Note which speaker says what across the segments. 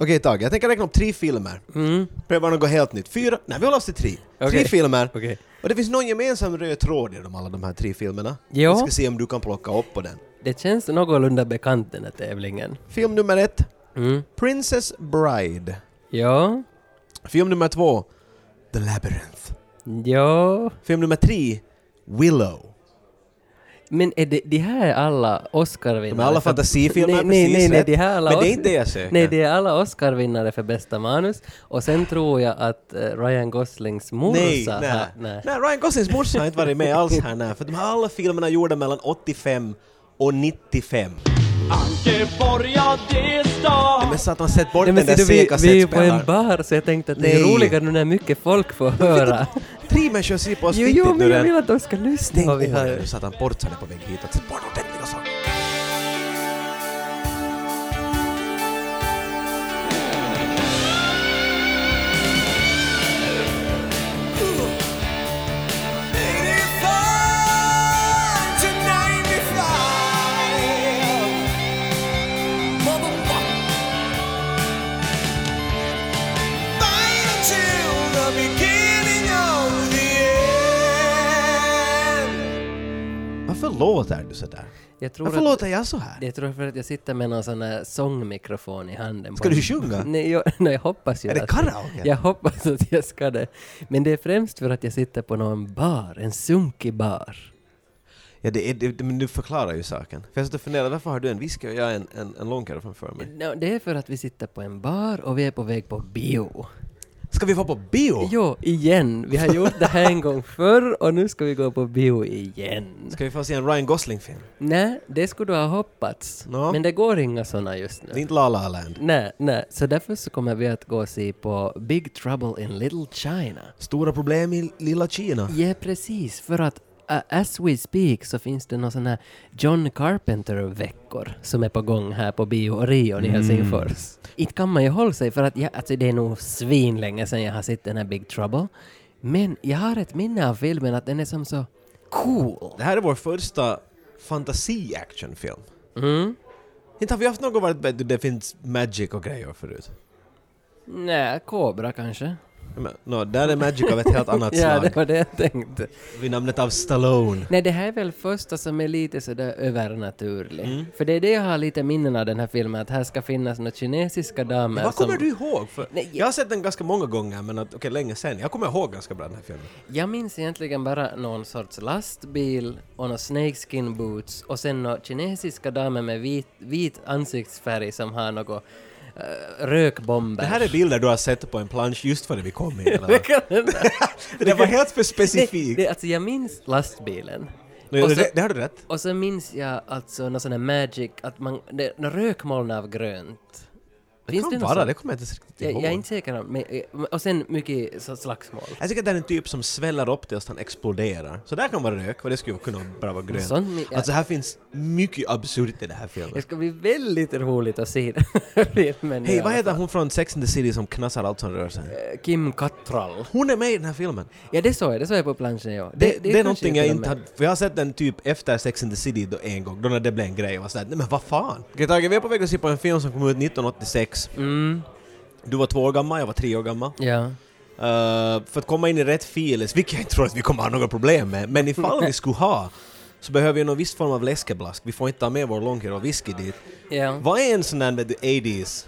Speaker 1: Okej Tage, jag tänker räkna upp tre filmer.
Speaker 2: Mm.
Speaker 1: Pröva något helt nytt. Fyra, nej vi håller oss till tre. Tre
Speaker 2: Okej.
Speaker 1: filmer.
Speaker 2: Okej.
Speaker 1: Och det finns någon gemensam röd tråd i de alla de här tre filmerna.
Speaker 2: Ja.
Speaker 1: Vi ska se om du kan plocka upp på den.
Speaker 2: Det känns någorlunda bekant den här tävlingen.
Speaker 1: Film nummer ett,
Speaker 2: Mm.
Speaker 1: Princess Bride.
Speaker 2: Ja.
Speaker 1: Film nummer två, The Labyrinth.
Speaker 2: Ja.
Speaker 1: Film nummer tre, Willow.
Speaker 2: Men är det, de här är alla Oscarvinnare.
Speaker 1: De är alla
Speaker 2: för-
Speaker 1: fantasifilmer,
Speaker 2: nej, nej,
Speaker 1: precis
Speaker 2: nej, nej,
Speaker 1: rätt.
Speaker 2: de här är alla
Speaker 1: Men det är
Speaker 2: Os-
Speaker 1: inte det jag söker.
Speaker 2: Nej, det är alla Oscarvinnare för bästa manus. Och sen tror jag att eh, Ryan Goslings morsa...
Speaker 1: Nej, nej.
Speaker 2: har- nej.
Speaker 1: nej, Ryan Goslings morsa har inte varit med alls här nej, för de här alla filmerna är gjorda mellan 85 och 95.
Speaker 3: Ankeborg, ja det är stan.
Speaker 1: Men satan, sätt bort
Speaker 2: Nej, men
Speaker 1: den
Speaker 2: ser
Speaker 1: där
Speaker 2: du, vi,
Speaker 1: seka
Speaker 2: vi är ju på en
Speaker 1: setspelaren.
Speaker 2: bar så jag tänkte att det är
Speaker 1: Nej.
Speaker 2: roligare nu när mycket folk får höra.
Speaker 1: Tre människor ser på oss
Speaker 2: Jo,
Speaker 1: fittigt
Speaker 2: jo,
Speaker 1: nu
Speaker 2: men jag
Speaker 1: redan.
Speaker 2: vill att de ska lyssna
Speaker 1: Stäng
Speaker 2: vad vi
Speaker 1: åren
Speaker 2: har.
Speaker 1: nu satan, portsarna på väg hit. Sätt bort ordentliga saker. Varför låter du sådär?
Speaker 2: Jag tror,
Speaker 1: Varför
Speaker 2: att,
Speaker 1: låter jag så här?
Speaker 2: jag tror för att jag sitter med någon sån här sångmikrofon i handen. på
Speaker 1: Ska
Speaker 2: en-
Speaker 1: du sjunga?
Speaker 2: Nej, jag, nej, jag hoppas ju
Speaker 1: Är det
Speaker 2: att-
Speaker 1: karaoke?
Speaker 2: Jag hoppas att jag ska det. Men det är främst för att jag sitter på någon bar, en sunkig bar.
Speaker 1: Ja, det är, det, men du förklarar ju saken. För jag satt och funderade, varför har du en whisky och jag har en, en, en långkare framför mig?
Speaker 2: Nå, det är för att vi sitter på en bar och vi är på väg på bio.
Speaker 1: Ska vi vara på bio?
Speaker 2: Jo, igen. Vi har gjort det här en gång förr och nu ska vi gå på bio igen.
Speaker 1: Ska vi få se en Ryan Gosling-film?
Speaker 2: Nej, det skulle du ha hoppats.
Speaker 1: Nå.
Speaker 2: Men det går inga såna just
Speaker 1: Det är
Speaker 2: nu.
Speaker 1: inte La La Land.
Speaker 2: Nej, nej. Så därför så kommer vi att gå och se på Big Trouble in Little China.
Speaker 1: Stora problem i lilla Kina.
Speaker 2: Ja, precis. För att uh, as we speak så finns det någon sån här John Carpenter-veckor som är på gång här på Bio Orion i
Speaker 1: Mm.
Speaker 2: Helsingfors. Inte kan man ju hålla sig för att jag, alltså det är nog svinlänge sedan jag har sett den här Big Trouble. Men jag har ett minne av filmen att den är som så cool.
Speaker 1: Det här är vår första fantasi-actionfilm.
Speaker 2: Mm.
Speaker 1: Inte har vi haft något varit vet du, det finns magic och grejer förut.
Speaker 2: Nej, Cobra kanske?
Speaker 1: Men, no, där är magic av ett helt annat
Speaker 2: ja,
Speaker 1: slag.
Speaker 2: det var det jag tänkte.
Speaker 1: Vid namnet av Stallone.
Speaker 2: Nej, det här är väl första som är lite sådär övernaturlig.
Speaker 1: Mm.
Speaker 2: För det är det jag har lite minnen av den här filmen, att här ska finnas några kinesiska damer
Speaker 1: Vad kommer
Speaker 2: som...
Speaker 1: du ihåg? För
Speaker 2: Nej, jag-
Speaker 1: jag har sett den ganska många gånger, men att, okej, länge sen. Jag kommer ihåg ganska bra den här filmen.
Speaker 2: Jag minns egentligen bara någon sorts lastbil och några snakeskin boots och sen några kinesiska damer med vit, vit ansiktsfärg som har något eh, rökbomber.
Speaker 1: Det här är bilder du har sett på en plansch just före vi kom in. Eller?
Speaker 2: Det
Speaker 1: vad?
Speaker 2: kan hända.
Speaker 1: det var helt för
Speaker 2: Nej,
Speaker 1: specifikt.
Speaker 2: det, alltså jag minns lastbilen.
Speaker 1: Nej,
Speaker 2: och, så,
Speaker 1: det, det har du rätt.
Speaker 2: och så minns jag alltså någon sån här magic, att man, det, några rökmoln av grönt.
Speaker 1: Det kan
Speaker 2: något
Speaker 1: vara,
Speaker 2: sånt?
Speaker 1: det kommer jag inte riktigt
Speaker 2: Jag,
Speaker 1: ihåg.
Speaker 2: jag är inte säker om, men, eh, och sen mycket så- slagsmål.
Speaker 1: Jag tycker att det är en typ som sväller upp tills han exploderar. Så där kan vara rök, och det skulle kunna bara vara grönt.
Speaker 2: Sånt mi- ja.
Speaker 1: Alltså här finns mycket absurt i den här
Speaker 2: Det
Speaker 1: filmen.
Speaker 2: ska bli väldigt roligt att se den här filmen.
Speaker 1: Hej, vad heter hon från Sex and the City som knassar allt som rör sig?
Speaker 2: Eh, Kim Cattrall.
Speaker 1: Hon är med i den här filmen.
Speaker 2: Ja, det såg jag. Det såg jag på planschen, ja.
Speaker 1: Det, det,
Speaker 2: kanske
Speaker 1: är någonting jag
Speaker 2: till och
Speaker 1: inte
Speaker 2: med-
Speaker 1: hade... För jag har sett den typ efter Sex and the City då en gång, då när det blev en grej. Jag var sådär, nej men vad fan! Okej Tage, vi är på väg att se på en film som kom ut 1986.
Speaker 2: Mm,
Speaker 1: Du var två år gammal, jag var tre år gammal.
Speaker 2: ja.
Speaker 1: Eh, för att komma in i rätt files, vilket jag inte tror att vi kommer ha några problem med, men ifall vi skulle ha så behöver vi någon viss form av läskeblask. Vi får inte ta med vår långkör och whisky dit.
Speaker 2: ja.
Speaker 1: Vad är en sån där med the 80s?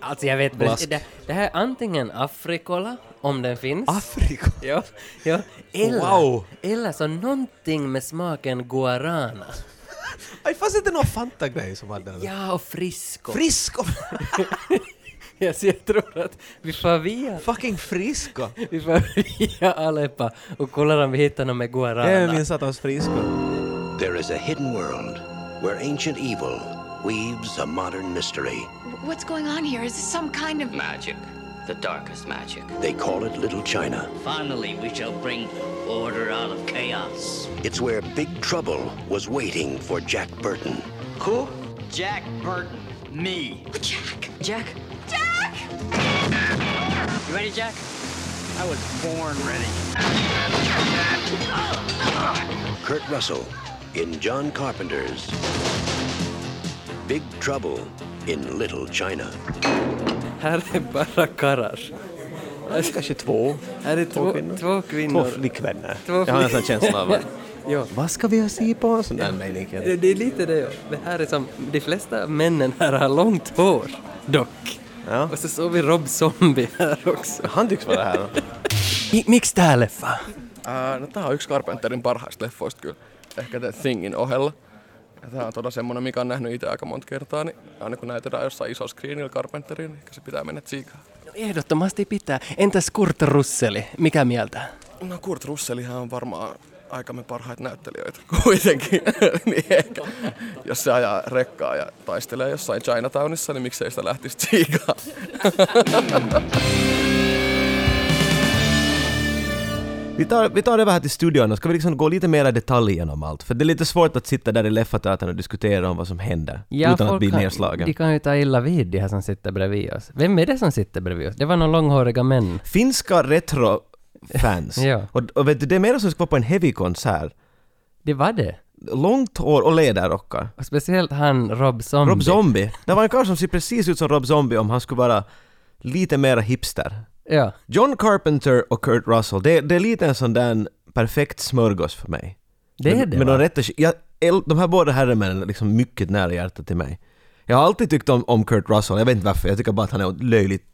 Speaker 2: Alltså, jag vet
Speaker 1: Blask.
Speaker 2: precis. Det, det här är antingen Afrikola, om den finns.
Speaker 1: Afrika?
Speaker 2: ja, ja. Eller,
Speaker 1: Wow.
Speaker 2: eller så någonting med smaken guarana.
Speaker 1: Aj, fanns det inte någon Fanta-grej som hade den?
Speaker 2: Ja, och frisco.
Speaker 1: Frisco!
Speaker 2: ja, så jag tror att vi får via,
Speaker 1: Fucking Frisco!
Speaker 2: vi får via Aleppa och kollar om vi hittar någon med guarana.
Speaker 1: Det är Eh, min satans Frisco.
Speaker 4: There is a hidden world where ancient evil weaves a modern mystery.
Speaker 5: What's going on here? Is this some kind of.
Speaker 6: Magic, the darkest magic.
Speaker 4: They call it Little China.
Speaker 6: Finally, we shall bring order out of chaos.
Speaker 4: It's where big trouble was waiting for Jack Burton.
Speaker 6: Who? Jack Burton.
Speaker 7: Niin.
Speaker 6: Me.
Speaker 5: Jack!
Speaker 6: Jack?
Speaker 5: Jack!
Speaker 6: You ready, Jack? I was born ready.
Speaker 4: Kurt Russell in John Carpenter's Big Trouble in Little China.
Speaker 2: Här är bara karrar.
Speaker 8: Kanske två.
Speaker 2: Här är två,
Speaker 8: kvinnor.
Speaker 2: två
Speaker 8: Två
Speaker 2: kvinnor.
Speaker 8: flickvänner.
Speaker 2: Två
Speaker 1: Jag har en sån
Speaker 2: flick-
Speaker 1: känsla av att...
Speaker 2: ja.
Speaker 1: Vad ska vi se på? En sån där mening.
Speaker 2: Eh, Det, det är lite det, ja. Det här är som, de flesta männen här har långt hår, dock.
Speaker 8: Ja.
Speaker 2: Och så såg vi Rob Zombie här
Speaker 1: Eh,
Speaker 2: också.
Speaker 8: Han tycks vara här.
Speaker 2: Mi, miksi tää leffa?
Speaker 7: Ää, no tää on yksi Carpenterin parhaista leffoista kyllä. Ehkä The Thingin ohella. Ja tää on todella semmonen, mikä on nähnyt itse aika monta kertaa, niin aina kun näytetään jossain iso screenillä Carpenterin, niin ehkä se pitää mennä tsiikaan.
Speaker 2: No, ehdottomasti pitää. Entäs Kurt Russeli, mikä mieltä?
Speaker 7: No Kurt Russellihan on varmaan aikamme parhaita näyttelijöitä kuitenkin. niin ehkä, jos se ajaa rekkaa ja taistelee jossain Chinatownissa, niin miksei sitä lähtisi tsiikaan.
Speaker 1: Vi tar, vi tar över här till studion och ska vi liksom gå lite mer i detalj genom allt. För det är lite svårt att sitta där i Leffateatern och diskutera om vad som händer utan att bli nerslagen.
Speaker 2: De kan ju ta illa vid, de här som sitter bredvid oss. Vem är det som sitter bredvid oss? Det var några långhåriga män.
Speaker 1: Finska retrofans.
Speaker 2: Ja.
Speaker 1: och, och vet du, det är mer som ska vara på en heavy-konsert.
Speaker 2: Det var det.
Speaker 1: Långt hår och läderrockar.
Speaker 2: Och speciellt han Rob Zombie.
Speaker 1: Rob Zombie. Det var en karl som ser precis ut som Rob Zombie om han skulle vara lite mer hipster.
Speaker 2: Ja.
Speaker 1: John Carpenter och Kurt Russell, det, det är lite en sån där perfekt smörgås för mig.
Speaker 2: Det är
Speaker 1: men,
Speaker 2: det,
Speaker 1: Men
Speaker 2: va?
Speaker 1: de, rätta, jag, äl- de här båda herremännen är liksom mycket nära hjärtat till mig. Jag har alltid tyckt om, om Kurt Russell, jag vet inte varför, jag tycker bara att han är löjligt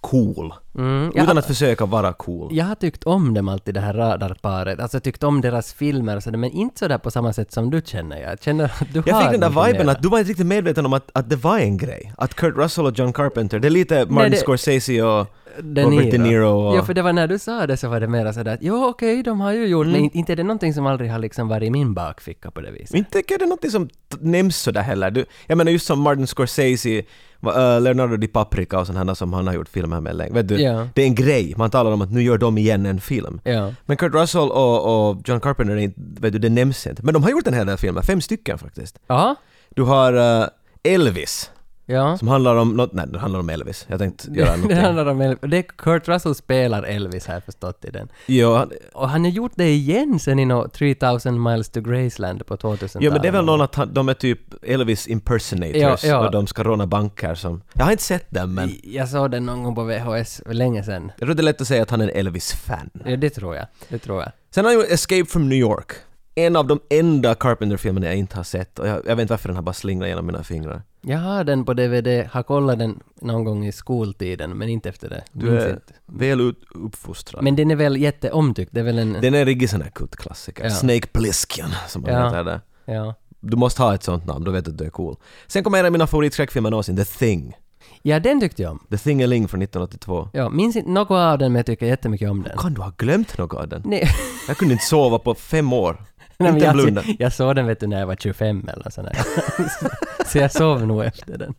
Speaker 1: cool.
Speaker 2: Mm,
Speaker 1: Utan att försöka vara cool.
Speaker 2: Jag har tyckt om dem alltid, det här radarparet. Alltså tyckt om deras filmer och sådär, men inte sådär på samma sätt som du känner. Jag känner att du
Speaker 1: Jag
Speaker 2: har
Speaker 1: fick den där
Speaker 2: något
Speaker 1: viben
Speaker 2: mera.
Speaker 1: att du var inte riktigt medveten om att, att det var en grej. Att Kurt Russell och John Carpenter, det är lite Martin
Speaker 2: det-
Speaker 1: Scorsese och
Speaker 2: De
Speaker 1: Robert De Niro och...
Speaker 2: Ja, för det var när du sa det så var det mera sådär att jo okej, de har ju
Speaker 1: Mm.
Speaker 2: gjort, men inte är det någonting som aldrig har liksom varit i min bakficka på det viset.
Speaker 1: Inte är det något som t- nämns sådär heller. Du, jag menar just som Martin Scorsese, va- äh, Leonardo DiCaprio och sådana som han har gjort filmer med länge. Vet du,
Speaker 2: Ja.
Speaker 1: det är en grej. Man talar om att nu gör de igen en film.
Speaker 2: Ja.
Speaker 1: Men Kurt Russell och, och John Carpenter, är inte- vet du, det nämns inte. Men de har gjort en hel del filmer, fem stycken faktiskt.
Speaker 2: Ja.
Speaker 1: Du har eh, Elvis,
Speaker 2: Ja.
Speaker 1: som handlar om något, nej det handlar om Elvis. Jag tänkte göra
Speaker 2: Det
Speaker 1: något.
Speaker 2: handlar om Elvis. Det är Kurt Russell spelar Elvis här förstått i den.
Speaker 1: Jo, han-
Speaker 2: Och han har gjort det igen sen i nå 3000 miles to Graceland på 2000-talet.
Speaker 1: jo, men det är väl någon att han, de är typ Elvis impersonators
Speaker 2: Ja, ja.
Speaker 1: och de ska råna banker som... Jag har inte sett den men
Speaker 2: Jag såg den någon gång på VHS för länge sen.
Speaker 1: jag tror det är lätt att säga att han är en Elvis-fan.
Speaker 2: Ja, det tror jag. Det tror jag.
Speaker 1: Sen har jag gjort Escape from New York. En av de enda Carpenter-filmerna jag inte har sett och jag, jag vet inte varför den har bara slingrat genom mina fingrar.
Speaker 2: Jag har den på DVD, har kollat den någon gång i skoltiden, men inte efter det.
Speaker 1: Du
Speaker 2: Minns
Speaker 1: är
Speaker 2: inte.
Speaker 1: väl ut, uppfostrad.
Speaker 2: Men den är väl jätteomtyckt, det är väl en...
Speaker 1: den är en riktig sån här kultklassiker.
Speaker 2: Ja.
Speaker 1: Snake Plissken som man
Speaker 2: Ja.
Speaker 1: heter där.
Speaker 2: Ja.
Speaker 1: Du måste ha ett sånt namn, då vet du att du är cool. Sen kommer en av mina favoritskräckfilmer någonsin, The Thing.
Speaker 2: ja, den tyckte jag om.
Speaker 1: The Thing-a-Ling från 1982.
Speaker 2: Ja, minns inte något av den, men jag tycker jättemycket om den.
Speaker 1: Kan du ha glömt något av den?
Speaker 2: Nej,
Speaker 1: Jag kunde inte sova på fem år.
Speaker 2: nej men
Speaker 1: inte en blunda.
Speaker 2: jag, jag såg den vet du när jag var 25 eller sådär. så, så jag sov nog efter den.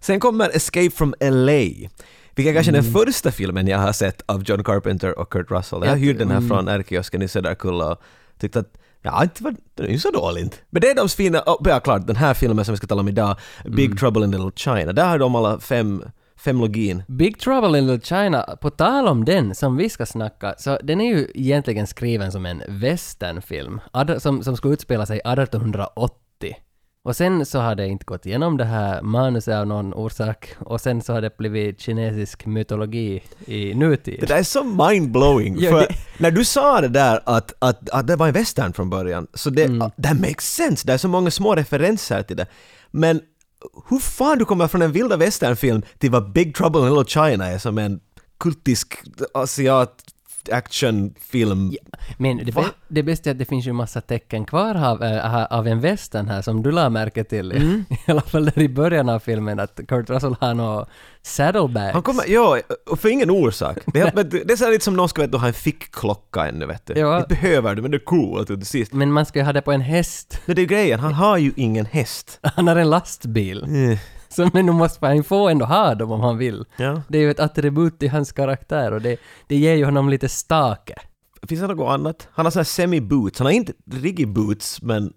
Speaker 1: Sen kommer Escape from LA. Vilket kanske är den första filmen jag har sett av John Carpenter och Kurt Russell. Jag hyrde den här från R-kiosken i Söderkulla och tyckte att ja, inte var, den är ju så dålig inte. Men det är de fina, oh, ja klart, den här filmen som vi ska tala om idag, Big Trouble in Little China, där har de alla fem, fem login.
Speaker 2: Big Trouble in Little China, på tal om den som vi ska snacka, så den är ju egentligen skriven som en westernfilm, ad- som, som ska utspela sig 1880. Och sen så har det inte gått igenom det här manuset av någon orsak, och sen så har det blivit kinesisk mytologi i
Speaker 1: Det
Speaker 2: nutid.
Speaker 1: där är så mindblowing,
Speaker 2: Ja,
Speaker 1: för
Speaker 2: det-
Speaker 1: när du sa det där att, att, att det var en western från början, så det,
Speaker 2: Mm.
Speaker 1: ah, that makes sense, det är så många små referenser till det. Men hur fan du kommer från en vilda västernfilm till vad Big Trouble in Little China är som en kultisk asiat actionfilm.
Speaker 2: Men det,
Speaker 1: Va?
Speaker 2: bä- det bästa är att det finns ju massa tecken kvar av, eh, av en western här som du la märke till,
Speaker 1: Mm.
Speaker 2: i alla fall där i början av filmen, att Kurt Russell har några saddlebags.
Speaker 1: Han kommer, ja, och för ingen orsak. Det är, men det är så här lite som någon ska vet, du, ha en fickklocka ännu vet du.
Speaker 2: Ja.
Speaker 1: Det behöver du, men det är coolt till sist.
Speaker 2: Men man ska ju ha det på en häst.
Speaker 1: Men det är ju grejen, han har ju ingen häst.
Speaker 2: Han har en lastbil.
Speaker 1: Eh,
Speaker 2: Så, men då måste han få ändå ha dem om han vill.
Speaker 1: Ja.
Speaker 2: Det är ju ett attribut till hans karaktär och det, det ger ju honom lite stake.
Speaker 1: Finns det något annat? Han har såna här semi-boots, han har inte riggy boots men...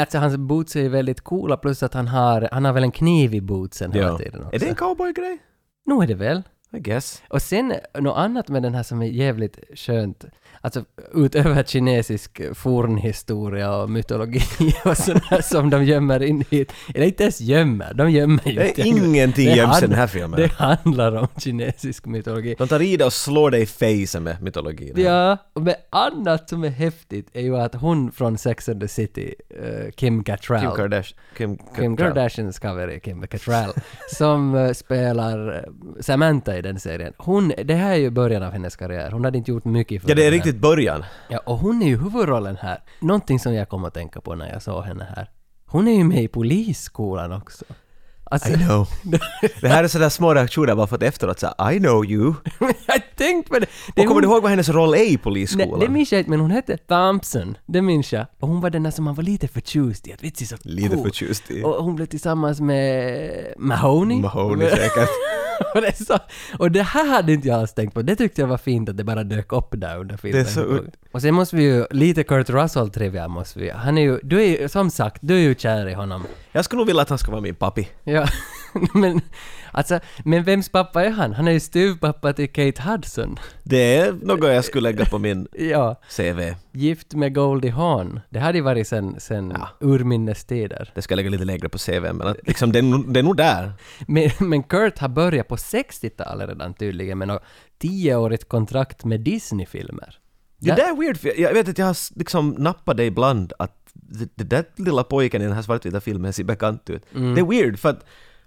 Speaker 2: Alltså hans boots är ju väldigt coola plus att han har, han har väl en kniv i bootsen hela tiden också.
Speaker 1: Är det en cowboygrej?
Speaker 2: Nog är det väl?
Speaker 1: I guess.
Speaker 2: Och sen något annat med den här som är jävligt skönt, alltså utöver kinesisk fornhistoria och mytologi och sådär som de gömmer in hit. Eller inte ens gömmer, de gömmer ju
Speaker 1: Det är ingenting
Speaker 2: Det
Speaker 1: göms i den
Speaker 2: handlar-
Speaker 1: här filmen.
Speaker 2: Det handlar om kinesisk mytologi.
Speaker 1: De tar i det och slår dig i fejsen med mytologin.
Speaker 2: Ja, och med annat som är häftigt är ju att hon från Sex and the City, eh, Kim Cattrall,
Speaker 1: Kim Kardashian. Kim,
Speaker 2: Kim Kardashians cover är Kim Cattrall, som eh, spelar eh, Samantha i den serien. Hon, det här är ju början av hennes karriär, hon hade inte gjort mycket för
Speaker 1: Ja, det är riktigt början.
Speaker 2: Ja, och hon är ju huvudrollen här. Någonting som jag kom att tänka på när jag såg henne här. Hon är ju med i Polisskolan också. Alltså,
Speaker 1: I know. det här är sådär små reaktioner bara för att efteråt säga I know you.
Speaker 2: jag tänkte på det! det är
Speaker 1: Och kommer
Speaker 2: hon-
Speaker 1: du ihåg vad hennes roll är i
Speaker 2: Nej,
Speaker 1: polisskolan?
Speaker 2: det minns jag inte, men hon hette Thompson. Det minns jag. Och hon var den där som man var lite förtjust i. Att vitsi, så
Speaker 1: Lite
Speaker 2: cool.
Speaker 1: förtjust i.
Speaker 2: Och hon blev tillsammans med Mahoney.
Speaker 1: Mahoney säkert.
Speaker 2: och, det är så, och det här hade inte jag alls tänkt på. Det tyckte jag var fint att det bara dök upp där under filmen.
Speaker 1: Det är så ud-
Speaker 2: Och sen måste vi ju, lite Kurt Russell-trivia måste vi Han är ju, du är ju, som sagt, du är ju kär i honom.
Speaker 1: Jag skulle nog vilja att han ska vara min pappi.
Speaker 2: Ja, men alltså, men vems pappa är han? Han är ju styvpappa till Kate Hudson.
Speaker 1: Det är något jag skulle lägga på min
Speaker 2: Ja.
Speaker 1: CV.
Speaker 2: Gift med Goldie Hawn. Det hade ju varit sen, sen urminnes tider.
Speaker 1: Det ska jag lägga lite lägre på CV, men att, liksom, det, är, nog- det är nog där.
Speaker 2: Men, men Kurt har börjat på 60-talet redan tydligen med något tioårigt kontrakt med Disney-filmer.
Speaker 1: Det
Speaker 2: Ja.
Speaker 1: där är weird, för jag- jag vet att jag har s- liksom nappat det ibland att det, det där lilla pojken i den här svartvita filmen ser bekant ut. Det är weird för att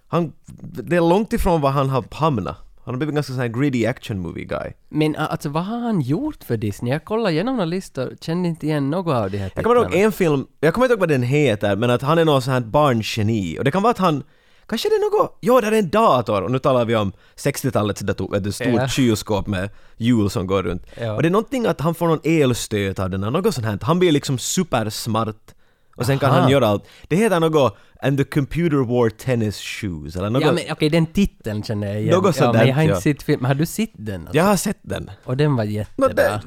Speaker 1: han, det är långt ifrån var han har hamnat. Han har blivit ganska sån här gritty action movie guy.
Speaker 2: Men a- alltså vad har han gjort för Disney? Jag kollade igenom några listor, kände inte igen något av de här
Speaker 1: Jag kommer ihåg
Speaker 2: titlarna.
Speaker 1: en film, jag kommer inte ihåg vad den heter, men att han är någon sån här barngeni. Och det kan vara att han, kanske det är något, jo där är en dator. Och nu talar vi om 60-talets dator, ett stort
Speaker 2: Ja.
Speaker 1: kylskåp med hjul som går runt.
Speaker 2: Ja.
Speaker 1: Och det är någonting att han får någon elstöt av den här, något sånt här. Han blir liksom supersmart. Och sen kan
Speaker 2: Aha.
Speaker 1: han göra allt. Det heter något “And the computer wore tennis shoes” eller något.
Speaker 2: Ja men okej, den titeln känner jag igen.
Speaker 1: Något
Speaker 2: ja,
Speaker 1: sådant,
Speaker 2: men jag har inte
Speaker 1: ja.
Speaker 2: sett filmen. Har du sett den? Alltså?
Speaker 1: Jag har sett den.
Speaker 2: Och den var jättebra.
Speaker 1: det-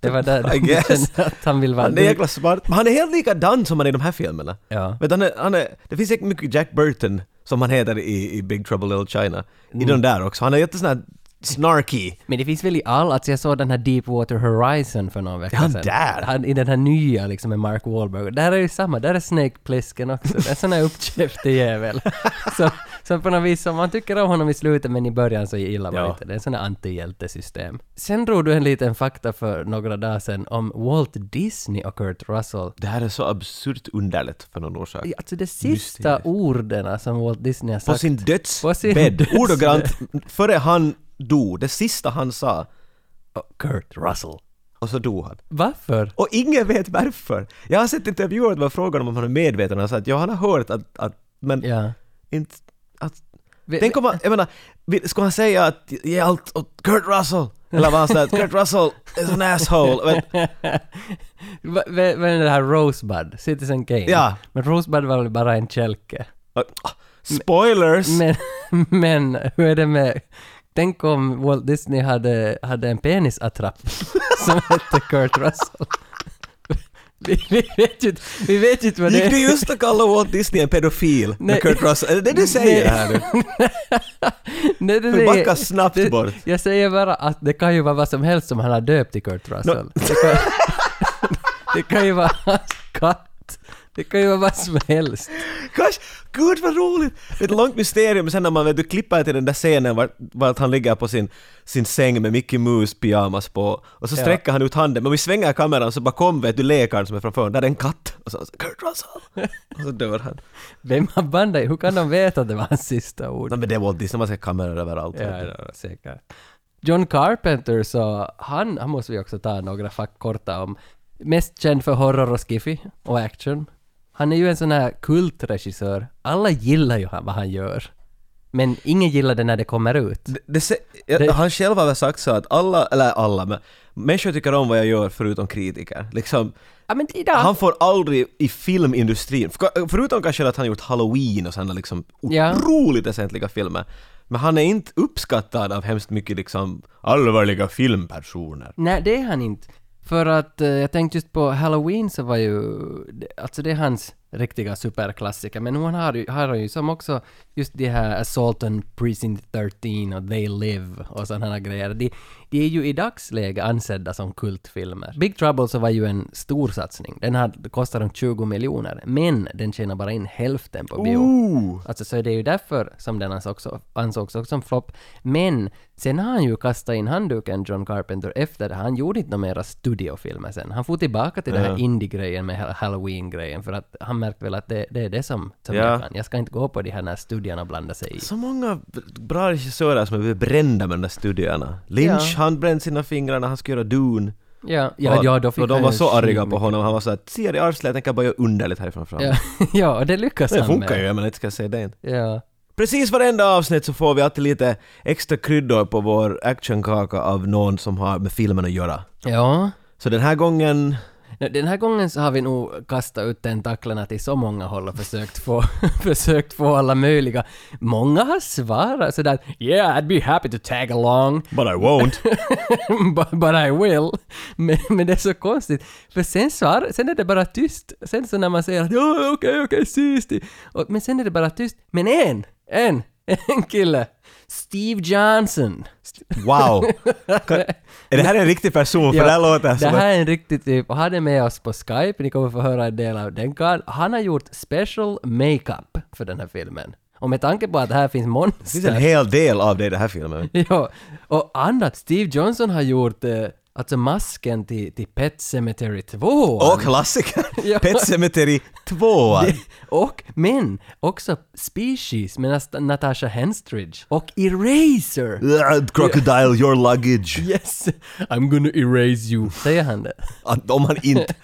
Speaker 2: det var där
Speaker 1: I
Speaker 2: du
Speaker 1: guess.
Speaker 2: kände att han vill vara...
Speaker 1: Han är jäkla smart. Men han är helt likadan som han är i de här filmerna.
Speaker 2: Ja.
Speaker 1: Vet, du, han är, han är, det finns säkert mycket Jack Burton, som han heter i, i Big Trouble Little China,
Speaker 2: Mm.
Speaker 1: i den där också. Han är jättesån här snarky.
Speaker 2: Men det finns väl i all, alltså jag såg den här Deepwater Horizon för någon vecka
Speaker 1: Är han
Speaker 2: sedan.
Speaker 1: där?
Speaker 2: Han, I den här nya liksom med Mark Wahlberg. Där är ju samma, där är Snake Plissken också. Det är en sån här uppkäftig jävel. som, som på något vis, som man tycker om honom i slutet men i början så gillar man
Speaker 1: Ja.
Speaker 2: inte. Det är en sån här antihjältesystem. Sen drog du en liten fakta för några dagar sedan om Walt Disney och Kurt Russell.
Speaker 1: Det här är så absurt underligt för någon orsak.
Speaker 2: Alltså de sista orden som Walt Disney har
Speaker 1: På
Speaker 2: sagt.
Speaker 1: sin
Speaker 2: På sin
Speaker 1: dödsbädd,
Speaker 2: dödsbädd.
Speaker 1: ordagrant, före han dog, det sista han sa, "Oh,
Speaker 2: Kurt Russell.
Speaker 1: och så dog han.
Speaker 2: Varför?
Speaker 1: Och ingen vet varför. Jag har sett intervjuer där man frågar om han är medveten, och han sa att ja, han har hört att, att men
Speaker 2: Ja.
Speaker 1: inte, att
Speaker 2: Vi-
Speaker 1: Tänk om han, jag menar, vi- skulle han säga att ge allt åt Kurt Russell? Eller vad han säger, att Kurt Russell is an asshole. Men,
Speaker 2: Va- va- Vad är det här Rosebud? Citizen Kane?
Speaker 1: Ja.
Speaker 2: Men Rosebud var väl bara en kälke?
Speaker 1: ah, spoilers!
Speaker 2: Men, men hur är det med... Tänk om Walt Disney hade, hade en penisattrapp som hette Kurt Russell. Vi, vi, vet ju, inte- vi vet ju inte vad det
Speaker 1: Gick
Speaker 2: är.
Speaker 1: du just att kalla Walt Disney en pedofil
Speaker 2: Nej.
Speaker 1: med Kurt Russell? Är det det du säger här nu?
Speaker 2: Nej, det
Speaker 1: Vi
Speaker 2: är-
Speaker 1: backar snabbt
Speaker 2: det-
Speaker 1: bort.
Speaker 2: Jag säger bara att det kan ju vara vad som helst som han har döpt till Kurt Russell. Det, kan, det kan ju vara hans katt. Det kan ju vara vad som helst.
Speaker 1: Gosh, gud vad roligt! Det är ett långt mysterium sen när man vet, du klipper till den där scenen vart, vart han ligger på sin, sin säng med Mickey Mouse pyjamas på och så
Speaker 2: Ja.
Speaker 1: sträcker han ut handen men vi svänger kameran så bakom vet du läkaren som är framför där är en katt och så Kurt Russell! Och så dör han.
Speaker 2: Vem har bandat? Hur kan de veta att det var hans sista ord?
Speaker 1: Nej men det är Walt Disney, man ser kameror överallt.
Speaker 2: Ja, ja, säkert. John Carpenter så, han, han måste vi också ta några fack korta om. Mest känd för horror och skiffy och action. Han är ju en sån här kultregissör. Alla gillar ju han, vad han gör. Men ingen gillar det när det kommer ut.
Speaker 1: Det, det, se- jag-
Speaker 2: Det-
Speaker 1: han själv har väl sagt så att alla, eller alla, men människor tycker om vad jag gör förutom kritiker. Liksom,
Speaker 2: Ja men idag...
Speaker 1: Han får aldrig i filmindustrin, för, förutom kanske att han gjort Halloween och sådana liksom
Speaker 2: Ja.
Speaker 1: otroligt väsentliga filmer, men han är inte uppskattad av hemskt mycket liksom allvarliga filmpersoner.
Speaker 2: Nej, det är han inte. För att eh, jag tänkte just på Halloween så var ju, det- alltså det är hans riktiga superklassiker. Men hon har ju, har ju som också just de här Assault on Precinct 13 och They Live och sådana här grejer. De, de är ju i dagsläget ansedda som kultfilmer. Big Trouble så var ju en stor satsning. Den hade, kostade runt 20 miljoner, men den tjänar bara in hälften på bio. Alltså, så det är ju därför som den alltså också, ansågs också som flopp. Men sen har han ju kastat in handduken, John Carpenter, efter det. Han gjorde inte några mera studiofilmer sen. Han får tillbaka till den här indie-grejen med ha- halloween-grejen, för att han märkte väl att det, det är det som, som
Speaker 1: Ja.
Speaker 2: jag kan. Jag ska inte gå på de här när studierna blandar sig i.
Speaker 1: Så många bra regissörer som har blivit brända med de där studierna. Lynch,
Speaker 2: Ja.
Speaker 1: han brände sina fingrar när han skulle göra Dune.
Speaker 2: Ja, ja, ja då fick
Speaker 1: och de
Speaker 2: han
Speaker 1: var
Speaker 2: ju
Speaker 1: så arga på
Speaker 2: skitmycket.
Speaker 1: honom, han var såhär ”Ser i arslet, jag tänker bara göra underligt härifrån fram”.
Speaker 2: Ja, ja, och det lyckas
Speaker 1: Det
Speaker 2: han
Speaker 1: funkar ju,
Speaker 2: med.
Speaker 1: jag menar inte ska jag säga det inte.
Speaker 2: Ja.
Speaker 1: Precis varenda avsnitt så får vi alltid lite extra kryddor på vår actionkaka av någon som har med filmen att göra.
Speaker 2: ja.
Speaker 1: Så den här gången...
Speaker 2: No, Den här gången så har vi nog kastat ut tentaklerna till så många håll och försökt få, försökt få alla möjliga. Många har svarat sådär ”Yeah, I'd be happy to tag along,
Speaker 1: But I won't.
Speaker 2: but, but I will”. Men, men det är så konstigt, för sen, svar, sen är det bara tyst. Sen så när man säger att ”Ja, okej, okej, sist”, i- och, men sen är det bara tyst. Men en, en, en kille, Steve Johnson.
Speaker 1: Wow! Kan, är det här en riktig person? För
Speaker 2: Ja,
Speaker 1: det här låter
Speaker 2: Det
Speaker 1: som
Speaker 2: här
Speaker 1: att...
Speaker 2: är en riktig typ, och han är med oss på Skype, ni kommer få höra en del av den karln. Han har gjort special makeup för den här filmen. Och med tanke på att här finns
Speaker 1: Det finns en
Speaker 2: monster...
Speaker 1: hel del av det i den här filmen.
Speaker 2: ja, och annat. Steve Johnson har gjort eh, alltså masken till, till Pet Cemetery 2.
Speaker 1: Och klassiker!
Speaker 2: Ja.
Speaker 1: Pet Sematary 2!
Speaker 2: och, men, också Species med Nas- Natasha Henstridge. Och Eraser!
Speaker 1: Ugh, Crocodile, your luggage!
Speaker 2: Yes! I'm gonna erase you. Säger han det?
Speaker 1: Att om han inte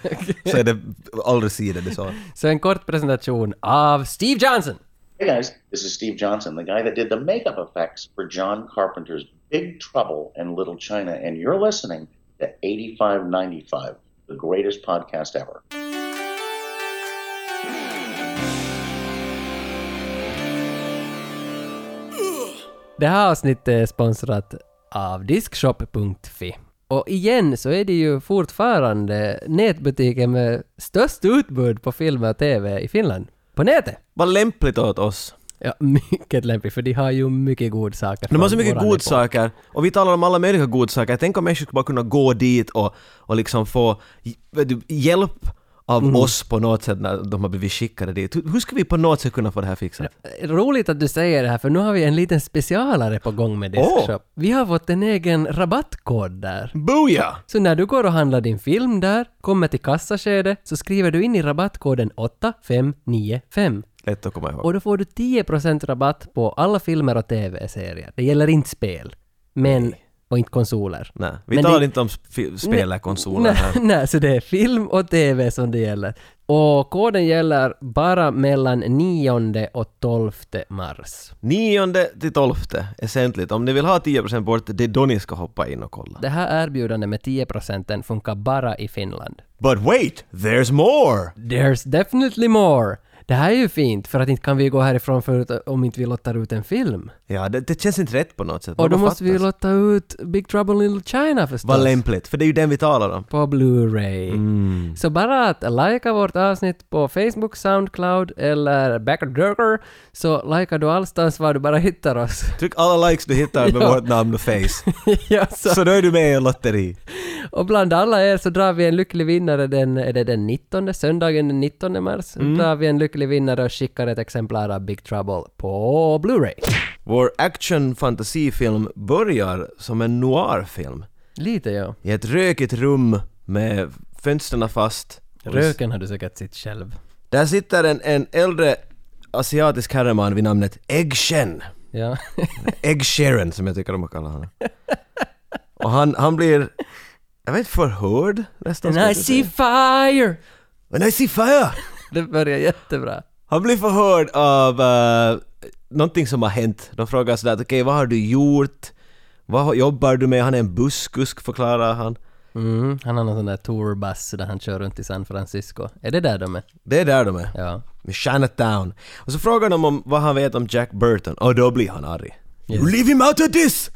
Speaker 1: så är det aldrig sidan det så.
Speaker 2: Så en kort presentation av Steve Johnson!
Speaker 9: Hey guys, this is Steve Johnson, the guy that did the makeup effects for John Carpenter's Big Trouble in Little China, and you're listening to 8595, the greatest podcast ever.
Speaker 2: Det här avsnittet är sponsrat av Diskshop.fi. Och igen så är det ju fortfarande nätbutiken med störst utbud på film och TV i Finland. På nätet!
Speaker 1: Vad lämpligt åt oss.
Speaker 2: Ja, mycket lämpligt för de har ju mycket god saker.
Speaker 1: De har
Speaker 2: från
Speaker 1: så mycket
Speaker 2: våran
Speaker 1: god
Speaker 2: epok.
Speaker 1: saker och vi talar om alla möjliga god saker. Tänk om människor skulle bara kunna gå dit och, och liksom få j- vet du, hjälp av
Speaker 2: Mm.
Speaker 1: oss på något sätt när de har blivit skickade dit. Hur, hur ska vi på något sätt kunna få det här fixat?
Speaker 2: Roligt att du säger det här för nu har vi en liten specialare på gång med Diskshop.
Speaker 1: Åh!
Speaker 2: Vi har fått en egen rabattkod där.
Speaker 1: Booyah!
Speaker 2: Så när du går och handlar din film där, kommer till kassaskedet, så skriver du in i rabattkoden 8595.
Speaker 1: Lätt att komma ihåg.
Speaker 2: Och då får du 10% rabatt på alla filmer och tv-serier. Det gäller inte spel. Men, och inte konsoler.
Speaker 1: Nej, vi
Speaker 2: Men
Speaker 1: talar
Speaker 2: det-
Speaker 1: inte om sp- spelarkonsoler
Speaker 2: Nej,
Speaker 1: här.
Speaker 2: nej, så det är film och tv som det gäller. Och koden gäller bara mellan 9 och 12 mars.
Speaker 1: Nionde till tolfte, essentligt. Om ni vill ha 10% bort, det är då ni ska hoppa in och kolla.
Speaker 2: Det här erbjudandet med 10% funkar bara i Finland.
Speaker 1: But wait, there's more!
Speaker 2: There's definitely more! Det här är ju fint, för att inte kan vi gå härifrån förut om inte vi lottar ut en film.
Speaker 1: Ja, det, det känns inte rätt på något sätt.
Speaker 2: Och då
Speaker 1: Något
Speaker 2: måste vi
Speaker 1: fattas.
Speaker 2: lotta ut Big Trouble in Little China förstås.
Speaker 1: Vad lämpligt, för det är ju den vi talar om.
Speaker 2: på Blu-ray. Så bara att likea vårt avsnitt på Facebook, Soundcloud eller Backdurker så likar du allstans var du bara hittar oss.
Speaker 1: Tryck alla likes du hittar med vårt namn och face.
Speaker 2: ja, så.
Speaker 1: Så då är du med i en lotteri.
Speaker 2: Och bland alla er så drar vi en lycklig vinnare den, är det den 19, söndagen den 19 mars. Drar vi en lycklig vinnare och skickar ett exemplar av Big Trouble på Blu-ray.
Speaker 1: Vår action-fantasifilm börjar som en noirfilm.
Speaker 2: Lite ja.
Speaker 1: I ett rökigt rum med fönstren fast.
Speaker 2: Röken har du säkert sett själv.
Speaker 1: Där sitter en, en äldre asiatisk herreman vid namnet Egg Shen.
Speaker 2: Ja.
Speaker 1: Egg Sheeran som jag tycker om att kalla honom. Och han, han blir, jag vet inte, förhörd nästan. skulle
Speaker 2: And I
Speaker 1: jag
Speaker 2: see
Speaker 1: säga.
Speaker 2: fire!
Speaker 1: And I see fire!
Speaker 2: Det börjar jättebra.
Speaker 1: Han blir förhörd av uh, någonting som har hänt. De frågar sådär att okej, vad har du gjort? Vad har- jobbar du med? Han är en busskusk förklarar han.
Speaker 2: Mm, han har någon sån där tourbuss där han kör runt i San Francisco. Är det där de är?
Speaker 1: Det är där de är.
Speaker 2: Ja.
Speaker 1: Med Chinatown. Och så frågar de om vad han vet om Jack Burton och då blir han arg. You leave him out of this!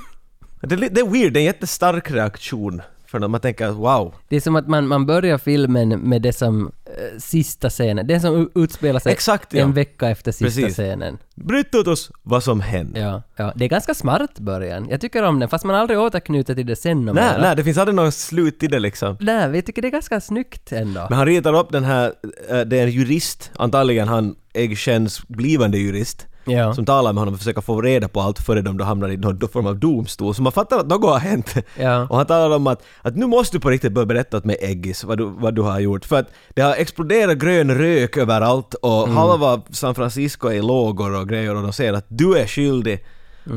Speaker 1: det, är li- det är weird, det är en jättestark reaktion. För när man tänker wow,
Speaker 2: Det är som att man, man börjar filmen med det som eh, eh, sista scenen. Den som u- utspelar sig
Speaker 1: Exakt, ja.
Speaker 2: en vecka efter sista
Speaker 1: Precis.
Speaker 2: scenen.
Speaker 1: Bryt ut oss vad som händer.
Speaker 2: Ja, ja. Det är ganska smart början. Jag tycker om den, fast man aldrig återknyter till det sen. någon
Speaker 1: Nej,
Speaker 2: mera.
Speaker 1: nej, det finns aldrig någon slut i det liksom.
Speaker 2: Nej, vi tycker det är ganska snyggt ändå.
Speaker 1: Men han ritar upp den här, eh, det är en jurist, antagligen han Eggshens blivande jurist,
Speaker 2: Ja.
Speaker 1: som talar med honom och försöker få reda på allt före de då hamnar i någon form av domstol. Så man fattar att något har hänt.
Speaker 2: Ja.
Speaker 1: Och han talar om att, att nu måste du på riktigt börja berätta åt mig Eggis vad du, vad du har gjort. För att det har exploderat grön rök överallt och halva San Francisco är i lågor och grejer och de säger att du är skyldig.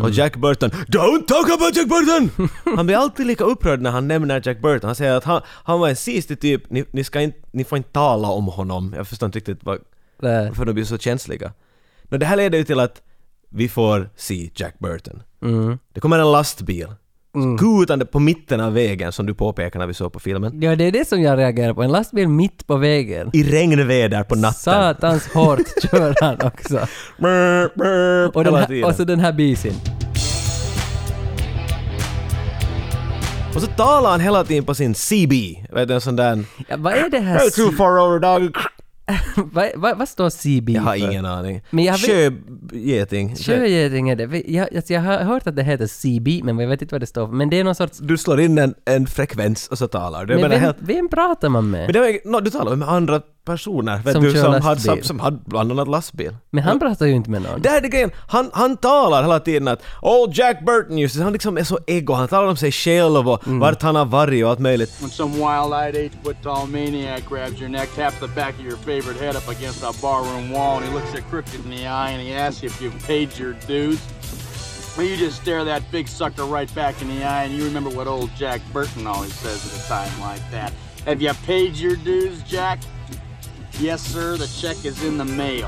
Speaker 1: Och Jack Burton, “Don't talk about Jack Burton!” Han blir alltid lika upprörd när han nämner Jack Burton. Han säger att han, han var en siste typ, ni, ni, ska inte, ni får inte tala om honom. Jag förstår inte riktigt vad,
Speaker 2: Nej.
Speaker 1: varför de blir så känsliga. Men det här leder ju till att vi får se Jack Burton.
Speaker 2: Mm.
Speaker 1: Det kommer en lastbil, skutande på mitten av vägen som du påpekade när vi såg på filmen.
Speaker 2: Ja, det är det som jag reagerar på. En lastbil mitt på vägen.
Speaker 1: I regnväder på natten.
Speaker 2: Satans hårt kör han också.
Speaker 1: Brr, brr,
Speaker 2: Och, den
Speaker 1: hela
Speaker 2: här,
Speaker 1: tiden.
Speaker 2: och så den här bisin.
Speaker 1: Och så talar han hela tiden på sin CB, vet du en sån där...
Speaker 2: Ja, vad är det här?
Speaker 1: Hey, too
Speaker 2: C-
Speaker 1: far over dog.
Speaker 2: vad, vad, vad står CB
Speaker 1: Jag har
Speaker 2: för?
Speaker 1: ingen aning.
Speaker 2: Men jag vet-
Speaker 1: Sjögeting.
Speaker 2: Sjögeting är det. Vi- Jag, alltså jag har hört att det heter CB, men jag vet inte vad det står för. Men det är någon sorts...
Speaker 1: Du slår in en, en frekvens och så talar du. Jag
Speaker 2: Men
Speaker 1: menar
Speaker 2: vem,
Speaker 1: helt-
Speaker 2: vem pratar man med?
Speaker 1: Men det var, no, du talade med andra personer, vet
Speaker 2: Som
Speaker 1: du,
Speaker 2: kör
Speaker 1: som hade,
Speaker 2: lastbil.
Speaker 1: som, som hade bland annat lastbil.
Speaker 2: Men han pratar ju inte med någon.
Speaker 1: Det här är grejen, han, han talar hela tiden att “Oh Jack Burton” just det." han liksom är så ego, han talar om sig själv och
Speaker 2: Mm.
Speaker 1: vart han har varit och allt möjligt.
Speaker 3: When some wild-eyed eight-foot tall maniac grabs your neck, taps the back of your favorite head up against a barroom wall, and he looks you crooked in the eye and he asks you if you've paid your dues. Well, you just stare that big sucker right back in the eye, and you remember what old Jack Burton always says at a time like that. Have you paid your dues, Jack? Yes, sir. The check is in the mail.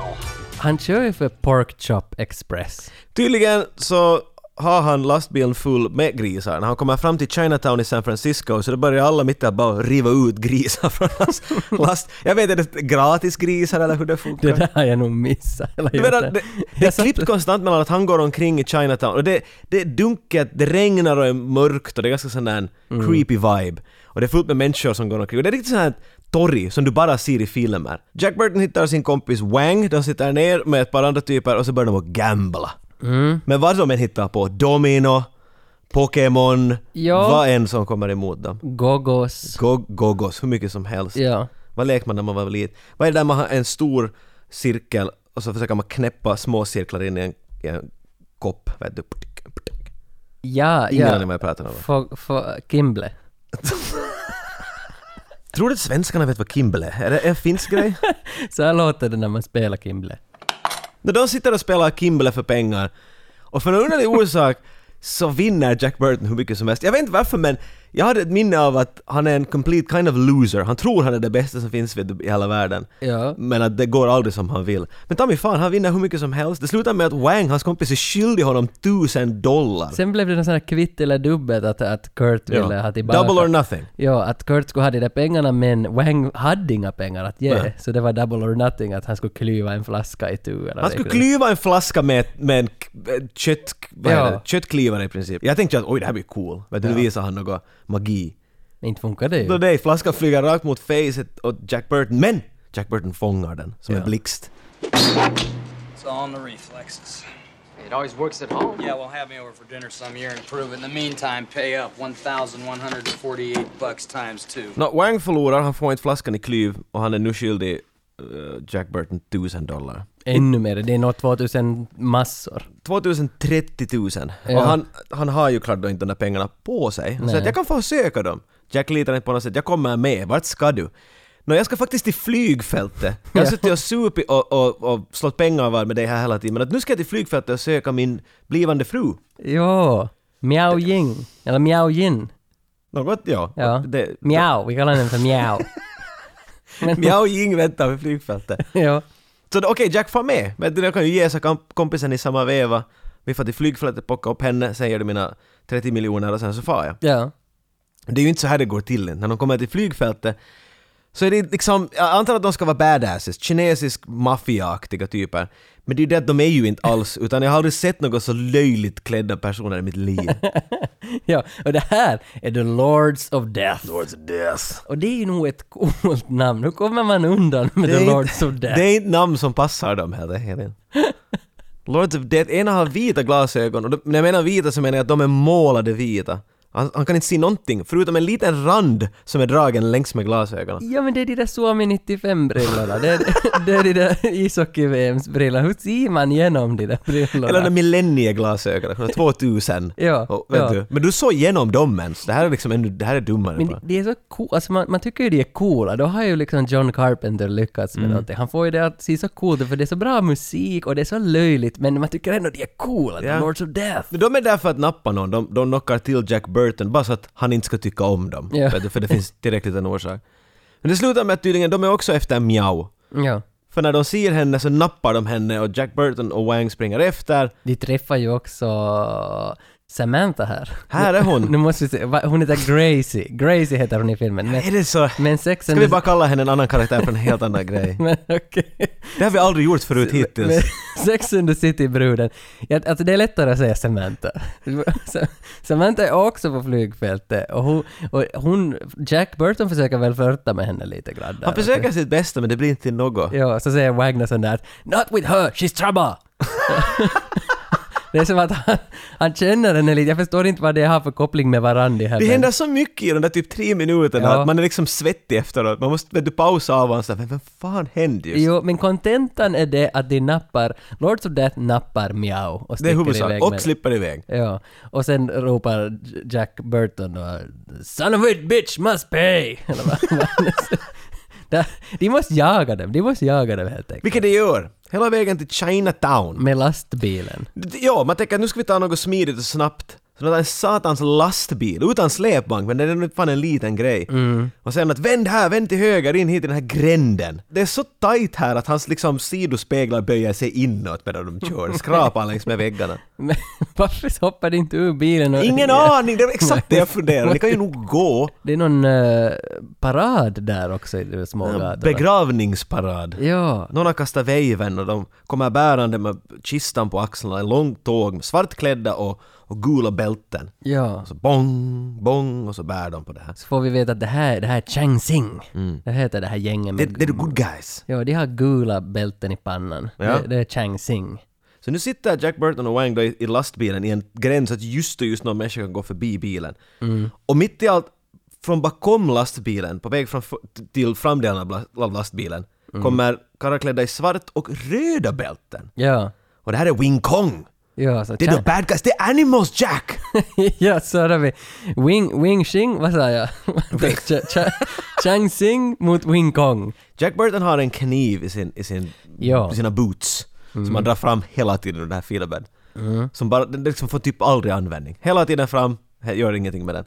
Speaker 2: Han kör ju för Pork Chop Express.
Speaker 1: Tydligen så har han lastbilen full med grisar. När han kommer fram till Chinatown i San Francisco så då börjar alla mitt i att bara riva ut grisar från hans last. Jag vet inte, är det gratis grisar eller hur det funkar?
Speaker 2: Det där har jag nog missat. Eller
Speaker 1: Du
Speaker 2: gjort
Speaker 1: menar, det, det är
Speaker 2: Jag satt-
Speaker 1: klippt konstant mellan att han går omkring i Chinatown och det, det är dunket, det regnar och är mörkt och det är ganska sån där en
Speaker 2: Mm.
Speaker 1: creepy vibe. Och det är fullt med människor som går omkring och det är riktigt sån här torg som du bara ser i filmer. Jack Burton hittar sin kompis Wang, de sitter ner med ett par andra typer och så börjar de att gambla.
Speaker 2: Mm.
Speaker 1: Men vad de än hittar på, domino, Pokémon,
Speaker 2: Ja.
Speaker 1: vad än som kommer emot dem.
Speaker 2: Gogos.
Speaker 1: Go- Gogos, hur mycket som helst.
Speaker 2: Ja.
Speaker 1: Vad lekte man när man var liten? Vad är det där man har en stor cirkel och så försöker man knäppa små cirklar in i en, i en kopp? Vet du?
Speaker 2: Ja,
Speaker 1: Ingen
Speaker 2: ja.
Speaker 1: aning vad jag pratar om.
Speaker 2: För, för Kimble.
Speaker 1: Tror du att svenskarna vet vad Kimble är? Är det en finsk grej?
Speaker 2: Så här låter det när man spelar Kimble.
Speaker 1: när de sitter och spelar Kimble för pengar och för någon underlig orsak så vinner Jack Burton hur mycket som helst. Jag vet inte varför men jag hade ett minne av att han är en complete kind of loser. Han tror han är det bästa som finns vet du, i hela världen.
Speaker 2: Ja.
Speaker 1: Men att det går aldrig som han vill. Men ta mig fan, han vinner hur mycket som helst. Det slutar med att Wang, hans kompis, är skyldig honom tusen dollar.
Speaker 2: Sen blev det någon sån här kvitt eller dubbelt att, att Kurt ville ha tillbaka.
Speaker 1: Double or nothing.
Speaker 2: Ja, att Kurt skulle ha de där pengarna men Wang hade inga pengar att ge.
Speaker 1: Nej.
Speaker 2: Så det var double or nothing att han skulle klyva en flaska i tu. Eller
Speaker 1: Han skulle klyva en flaska med, med en k- eh, kött, vad
Speaker 2: Ja.
Speaker 1: heter det? köttklyvare i princip. Jag tänkte att oj, det här blir cool. Vet du, nu visar han något magi.
Speaker 2: Inte funkar det ju.
Speaker 1: Då nej, flaskan flyger rakt mot facet åt Jack Burton, men Jack Burton fångar den som en blixt.
Speaker 6: It's all in the reflexes.
Speaker 10: It always works at home.
Speaker 6: Yeah, well, have me over for dinner some year and prove it. In the meantime, pay up 1,148 bucks times two.
Speaker 1: Nå, Wang förlorar, han får inte flaskan i klyv och han är nu skyldig eh, Jack Burton tusen dollar.
Speaker 2: Ännu mer. Det är nog 2000 massor.
Speaker 1: 2030 000.
Speaker 2: Ja.
Speaker 1: Och han, han har ju klart då inte de där pengarna på sig. Han
Speaker 2: Nej.
Speaker 1: säger att jag kan få söka dem. Jack litar inte på något sätt. Jag kommer med. Vart ska du? Nå, jag ska faktiskt till flygfältet. Jag har suttit och supit och, och, och slått pengar var med dig här hela tiden. Men att nu ska jag till flygfältet och söka min blivande fru.
Speaker 2: Jo. Miao Ying. Eller Miao Yin.
Speaker 1: Något, ja.
Speaker 2: Ja.
Speaker 1: Det,
Speaker 2: Miao. Vi kallar den för Miao. Men-
Speaker 1: Miao Ying väntar vid flygfältet.
Speaker 2: ja.
Speaker 1: Så då- okej, Jack far med. Men jag kan ju ge sig komp- kompisen i samma veva. Vi får till flygfältet, plocka upp henne, sen gör du mina 30 miljoner och sen så far jag.
Speaker 2: Ja.
Speaker 1: Det är ju inte så här det går till. När de kommer till flygfältet Så är det liksom, jag antar att de ska vara badasses, kinesisk maffiaaktiga typer. Men det är ju det att de är ju inte alls, utan jag har aldrig sett något så löjligt klädda personer i mitt liv.
Speaker 2: ja, och det här är The Lords of Death.
Speaker 1: Lords of Death.
Speaker 2: Och det är ju nog ett coolt namn. Hur kommer man undan med
Speaker 1: är
Speaker 2: The
Speaker 1: inte-
Speaker 2: Lords of Death?
Speaker 1: Det är inte namn som passar dem heller. heller. Lords of Death, ena har vita glasögon och de, när jag menar vita så menar jag att de är målade vita. Han, han kan inte se någonting förutom en liten rand som är dragen längs med glasögonen.
Speaker 2: Ja men det är de där Suomi 95-brillorna. Det är, det är de där ishockey-VMs-brillorna. Hur ser man igenom de där brillorna?
Speaker 1: Eller de millennieglasögonen, från 2000.
Speaker 2: Ja,
Speaker 1: och, vet
Speaker 2: ja.
Speaker 1: du, men du såg igenom dem ens. Det här är liksom ännu, det här är dummare.
Speaker 2: Men
Speaker 1: bara.
Speaker 2: det är så coolt, alltså man, man tycker ju det är coola. Då har ju liksom John Carpenter lyckats
Speaker 1: Mm.
Speaker 2: med någonting. Han får ju det att se så coolt ut för det är så bra musik och det är så löjligt men man tycker ändå det är coolt.
Speaker 1: Ja.
Speaker 2: The Lords of Death.
Speaker 1: Men De är där för att nappa någon, de, de knockar till Jack Burton bara så att han inte ska tycka om dem.
Speaker 2: Ja.
Speaker 1: För, för det finns tillräckligt en orsak. Men det slutar med att tydligen, de är också efter Miao.
Speaker 2: Ja.
Speaker 1: För när de ser henne så nappar de henne och Jack Burton och Wang springer efter.
Speaker 2: De träffar ju också Samantha här.
Speaker 1: Här är hon.
Speaker 2: nu måste vi se, va- hon heter Gracie. Gracie heter hon i filmen. Men,
Speaker 1: Är det så?
Speaker 2: men sex
Speaker 1: Ska vi bara kalla henne en annan karaktär för en helt annan grej?
Speaker 2: Men okej.
Speaker 1: Det har vi aldrig gjort förut
Speaker 2: Men
Speaker 1: hittills.
Speaker 2: Sex and the City-bruden. Ja, Alltså det är lättare att säga Samantha. Sa- Samantha är också på flygfältet och hon, och hon Jack Burton försöker väl flörta med henne lite grann. där.
Speaker 1: Han försöker sitt bästa men det blir inte till något.
Speaker 2: Ja, så säger Wagner sån där att ”Not with her, she's trouble”. det är som att han, han känner henne lite. Jag förstår inte vad det har för koppling med varandra här.
Speaker 1: Det
Speaker 2: men-
Speaker 1: händer så mycket i de där typ tre minuterna
Speaker 2: Ja.
Speaker 1: att man är liksom svettig efteråt. Man måste vet du, pausa av och säga men vad fan hände just?
Speaker 2: Jo, men kontentan är det att de nappar, Lords of Death nappar Miao och
Speaker 1: det är
Speaker 2: sticker
Speaker 1: huvudsak.
Speaker 2: iväg med-
Speaker 1: Och slipper iväg.
Speaker 2: Ja, och sen ropar Jack Burton då ”Son of a bitch must pay!” Eller vad- vad- Där- De måste jaga dem, de måste jaga dem helt enkelt.
Speaker 1: Vilket det gör. Hela vägen till Chinatown.
Speaker 2: Med lastbilen.
Speaker 1: Ja, man tänker att nu ska vi ta något smidigt och snabbt. Så det är en satans lastbil, utan släpvagn, men det är nog fan en liten grej. Och sen att vänd här, vänd till höger, in hit i den här gränden. Det är så tight här att hans liksom sidospeglar böjer sig inåt medan de kör, skrapar längs med väggarna.
Speaker 2: Men varför hoppar de inte ur bilen? Och,
Speaker 1: Ingen aning, det var exakt det jag funderade. Ni kan ju nog gå.
Speaker 2: Det är någon eh, parad där också i de små gatorna.
Speaker 1: Begravningsparad.
Speaker 2: Ja.
Speaker 1: Någon har kastat vejven och de kommer bärande med kistan på axlarna, en lång tåg, svartklädda och, och gula bälten.
Speaker 2: Ja.
Speaker 1: Och så bong, bong och så bär de på det här.
Speaker 2: Så får vi veta att det här, det här är Chang Sing. Det heter det här gänget
Speaker 1: Mm. Det,
Speaker 2: med...
Speaker 1: det är the good guys.
Speaker 2: Ja, de har gula bälten i pannan.
Speaker 1: Ja.
Speaker 2: Det, det är Chang Sing.
Speaker 1: Så nu sitter Jack Burton och Wang då i, i lastbilen i en gräns att just och just någon människa kan gå förbi bilen. Och mitt i allt, från bakom lastbilen, på väg från, f- till framdelen av la- av lastbilen, kommer karlar klädda i svart och röda bälten.
Speaker 2: Ja.
Speaker 1: Och det här är Wing Kong!
Speaker 2: Ja, så
Speaker 1: Det är
Speaker 2: Chang-
Speaker 1: the bad guys, det är animals Jack!
Speaker 2: ja, så hade vi Wing, Wing Xing, vad sa jag? Ch- Ch- Chang Sing mot Wing Kong.
Speaker 1: Jack Burton har en kniv i, sin, i, sin,
Speaker 2: Ja. Mm.
Speaker 1: i sina boots som han drar fram hela tiden ur den här filmen. Som bara, den liksom får typ aldrig användning. Hela tiden fram, he- gör ingenting med den.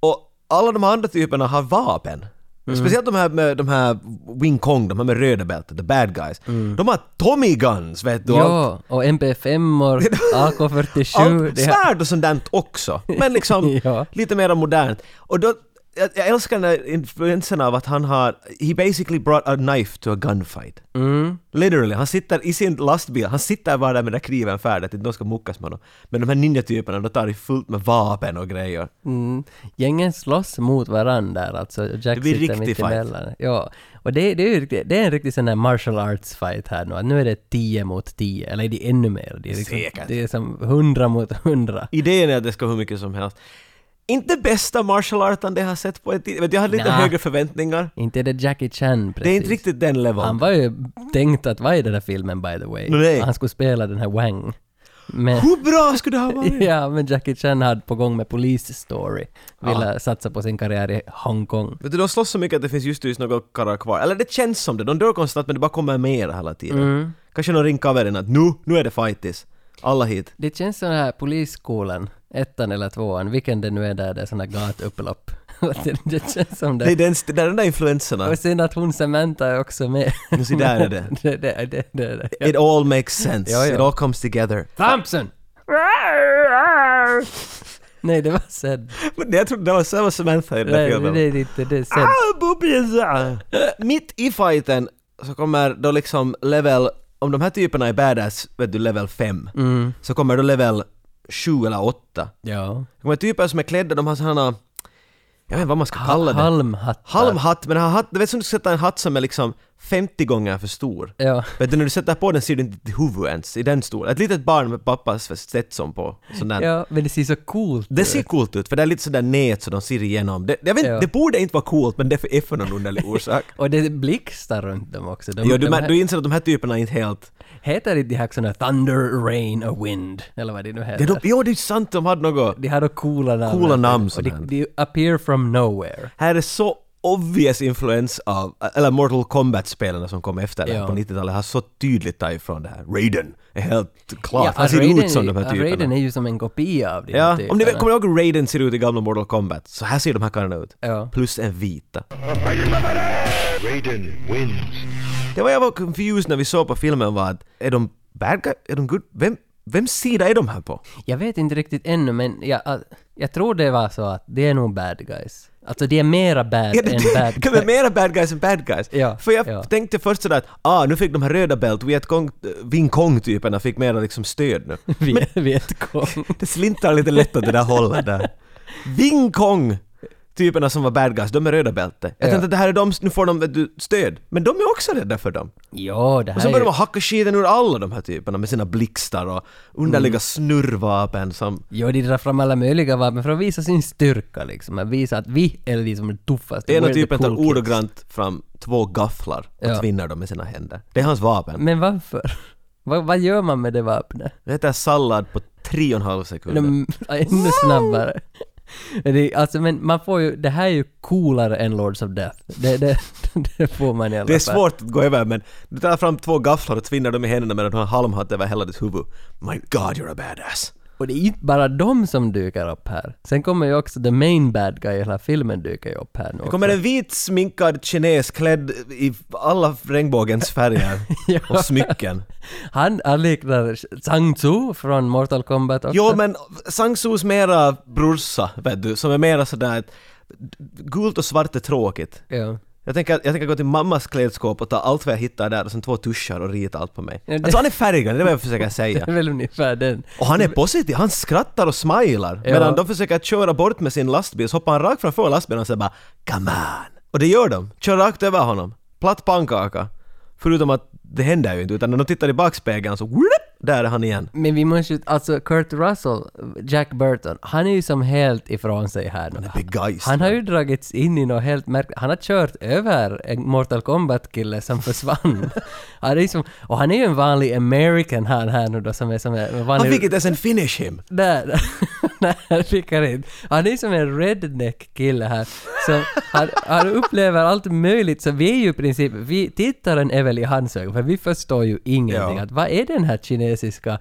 Speaker 1: Och alla de andra typerna har vapen.
Speaker 2: Mm.
Speaker 1: Speciellt de här, med, de här Wing Kong, de här med röda bältet, the bad guys. De har Tommy Guns, vet du. allt-
Speaker 2: Mm. Ja, och MP5 or AK47.
Speaker 1: allt
Speaker 2: det här-
Speaker 1: svärd och sånt där också. Men liksom
Speaker 2: Ja.
Speaker 1: lite mer modernt. Och då, jag, jag älskar den här influensen av att han har, he basically brought a knife to a gunfight.
Speaker 2: Mm.
Speaker 1: Literally, han sitter i sin lastbil, han sitter bara där med den där kniven färdig, att inte någon ska muckas med honom. Men de här ninjatyperna, de tar i fullt med vapen och grejer.
Speaker 2: Mm, gängen slåss mot varandra där, alltså. Jack
Speaker 1: Det blir
Speaker 2: sitter
Speaker 1: riktig
Speaker 2: mitt
Speaker 1: fight.
Speaker 2: emellan. Ja, och det, det, är, ju riktigt- det är en riktig sån där martial arts fight här nu. att Nu är det 10 mot 10, eller är det ännu mer? Det är, liksom,
Speaker 1: Säkert.
Speaker 2: det är som 100 mot 100.
Speaker 1: Idén är att det ska vara hur mycket som helst. Inte bästa martial arten det jag har sett på en tid. Vet du, Jag hade lite
Speaker 2: Nja.
Speaker 1: högre förväntningar.
Speaker 2: Inte är det Jackie Chan precis.
Speaker 1: Det är inte riktigt den leveln.
Speaker 2: Han var ju tänkt att vara i den här filmen by the way.
Speaker 1: Nej.
Speaker 2: Han skulle spela den här Wang. Men,
Speaker 1: Hur bra skulle det ha varit?
Speaker 2: ja, men Jackie Chan hade på gång med Police Story. Ville satsa på sin karriär i Hongkong.
Speaker 1: Vet du, de slåss så mycket att det finns just just några karlar kvar. Eller det känns som det, de dör konstant men det bara kommer mer hela tiden. Kanske någon ringer kaverin att nu, nu är det fightis. Alla hit.
Speaker 2: Det känns sån här polisskolan, ettan eller tvåan, vilken det nu är där det är sån här gatupplopp. Det- det känns som
Speaker 1: Det är
Speaker 2: det.
Speaker 1: den, det är den där influenserna.
Speaker 2: Och sen att hon Samantha är också med.
Speaker 1: Nu se, där är det.
Speaker 2: det, det, det, det, det.
Speaker 1: It all makes sense.
Speaker 2: Ja, ja.
Speaker 1: It all comes together.
Speaker 2: Thompson! Nej, det var Zed.
Speaker 1: Men jag trodde det var Sam och Samantha i den där
Speaker 2: Nej,
Speaker 1: filmen.
Speaker 2: det är det inte. Det är Zed.
Speaker 1: Ah, bubbiesa! Mitt i fighten så kommer då liksom level, om de här typerna är badass, vet du, level 5,
Speaker 2: Mm.
Speaker 1: så kommer då level 7 eller 8.
Speaker 2: Ja.
Speaker 1: Det kommer typer som är klädda, de har sådana, jag vet inte vad man ska kalla det.
Speaker 2: Halmhattar.
Speaker 1: Halmhatt, men han har hatt, du vet som du sätter en hatt som är liksom 50 gånger för stor.
Speaker 2: Ja.
Speaker 1: Vet du, när du sätter på den ser du inte ditt huvud ens, i den stor. Ett litet barn med pappas Stetson på. Sån där.
Speaker 2: ja, men det ser så coolt
Speaker 1: Det ser coolt ut, för det är lite sådär nät så de ser igenom. Det, jag vet, inte,
Speaker 2: Ja.
Speaker 1: det borde inte vara coolt, men det är för någon underlig orsak.
Speaker 2: Och det blixtar runt dem också. De,
Speaker 1: jo, du,
Speaker 2: de
Speaker 1: men,
Speaker 2: här-
Speaker 1: du inser att de här typerna är inte helt...
Speaker 2: Heter inte de här såna här Thunder, Rain och Wind? Eller vad det nu
Speaker 1: Ja,
Speaker 2: heter.
Speaker 1: de, jo, det är sant, de hade något...
Speaker 2: De har då coola namn.
Speaker 1: Coola namn,
Speaker 2: Och
Speaker 1: sådär.
Speaker 2: de, de appear from nowhere.
Speaker 1: Här är så obvious influens av, eller Mortal Kombat-spelarna som kom efter det här
Speaker 2: Ja.
Speaker 1: på 90-talet har så tydligt tagit ifrån det här. Raiden är helt klart, han
Speaker 2: att
Speaker 1: ser
Speaker 2: Raiden-
Speaker 1: ut som de här
Speaker 2: att Raiden
Speaker 1: typerna.
Speaker 2: är ju som en kopia av typ. de här
Speaker 1: Ja,
Speaker 2: typerna.
Speaker 1: om ni vet- kommer ni ihåg hur Raiden ser ut i gamla Mortal Kombat? Så här ser de här karlarna ut.
Speaker 2: Ja.
Speaker 1: Plus en vita.
Speaker 11: Raiden wins.
Speaker 1: Det var jag var confused när vi såg på filmen var att är de bad guy? Är de good? Vem, vem sida är de här på?
Speaker 2: Jag vet inte riktigt ännu, men jag, att- jag tror det var så att det är nog bad guys. Alltså det är mera bad
Speaker 1: Ja, det,
Speaker 2: än
Speaker 1: det,
Speaker 2: bad
Speaker 1: de är
Speaker 2: guys.
Speaker 1: mera bad guys än bad guys.
Speaker 2: Ja,
Speaker 1: För jag
Speaker 2: ja.
Speaker 1: tänkte först sådär att ah, nu fick de här röda bält, Vietkong, Ving Kong-typerna fick mera liksom stöd nu.
Speaker 2: Vi vet kom.
Speaker 1: Det slintar lite lätt åt det där hållet där. Ving Kong! Typerna som var bad guys, de är röda bälte. Jag
Speaker 2: Ja.
Speaker 1: tänkte att det här är de, nu får de vet du, stöd. Men de är också rädda för dem.
Speaker 2: Ja, det
Speaker 1: Och
Speaker 2: här
Speaker 1: så
Speaker 2: är
Speaker 1: börjar
Speaker 2: ju-
Speaker 1: de hacka skiten ur alla de här typerna med sina blixtar och underliga
Speaker 2: Mm.
Speaker 1: snurrvapen som...
Speaker 2: Ja, de drar fram alla möjliga vapen för att visa sin styrka liksom. Att visa att vi är liksom de tuffaste.
Speaker 1: Ena
Speaker 2: We're the
Speaker 1: typen tar
Speaker 2: cool kids.
Speaker 1: typ ordagrant fram två gafflar och
Speaker 2: Ja.
Speaker 1: tvinnar dem med sina händer. Det är hans vapen.
Speaker 2: Men varför? Vad, vad gör man med det vapnet?
Speaker 1: Det heter sallad på tre och en halv sekunder.
Speaker 2: De, ännu snabbare. Det, är- alltså, men man får ju, det här är ju coolare än Lords of Death. Det, det, det får man i alla fall.
Speaker 1: det är svårt att gå över men du tar fram två gafflar och tvinnar dem i händerna medan du har en halmhatt över hela ditt huvud. My God, you're a badass.
Speaker 2: Och det är inte bara de som dyker upp här. Sen kommer ju också the main bad guy i hela filmen dyker ju upp här nu
Speaker 1: Det kommer en vit sminkad kines klädd i alla regnbågens färger
Speaker 2: Ja.
Speaker 1: och smycken.
Speaker 2: Han, han liknar Zhang Tzu från Mortal Kombat också.
Speaker 1: Jo men Sangsus mera brorsa, vet du, som är mera sådär att gult och svart är tråkigt.
Speaker 2: Ja.
Speaker 1: Jag tänker, jag tänker gå till mammas klädskåp och ta allt vad jag hittar där och sen två tuschar och rita allt på mig.
Speaker 2: Ja, det-
Speaker 1: Alltså han är färgad, det är vad jag försöker
Speaker 2: Det
Speaker 1: säga.
Speaker 2: är väl ungefär den.
Speaker 1: Och han är positiv, han skrattar och smilar.
Speaker 2: Ja.
Speaker 1: Medan de försöker köra bort med sin lastbil så hoppar han rakt framför lastbilen och säger bara ”Come on!” Och det gör de, kör rakt över honom. Platt pannkaka. Förutom att det händer ju inte, utan när de tittar i backspegeln så whoop, där är han igen.
Speaker 2: Men vi måste ju, alltså Kurt Russell, Jack Burton, han är ju som helt ifrån sig här nu.
Speaker 1: Begeist.
Speaker 2: Han har ju dragits in i något helt märkligt. Han har kört över en Mortal Kombat-kille som försvann. han är ju som, och han är ju en vanlig American han här nu då som är som är en vanlig...
Speaker 1: Han fick inte ens en finish him!
Speaker 2: Där! Nej, han fick han inte. Han är som en redneck-kille här. Så han, han upplever allt möjligt. Så vi är ju i princip, vi, tittaren är väl i hans ögon, för vi förstår ju ingenting.
Speaker 1: Ja.
Speaker 2: Att vad är den här kinesiska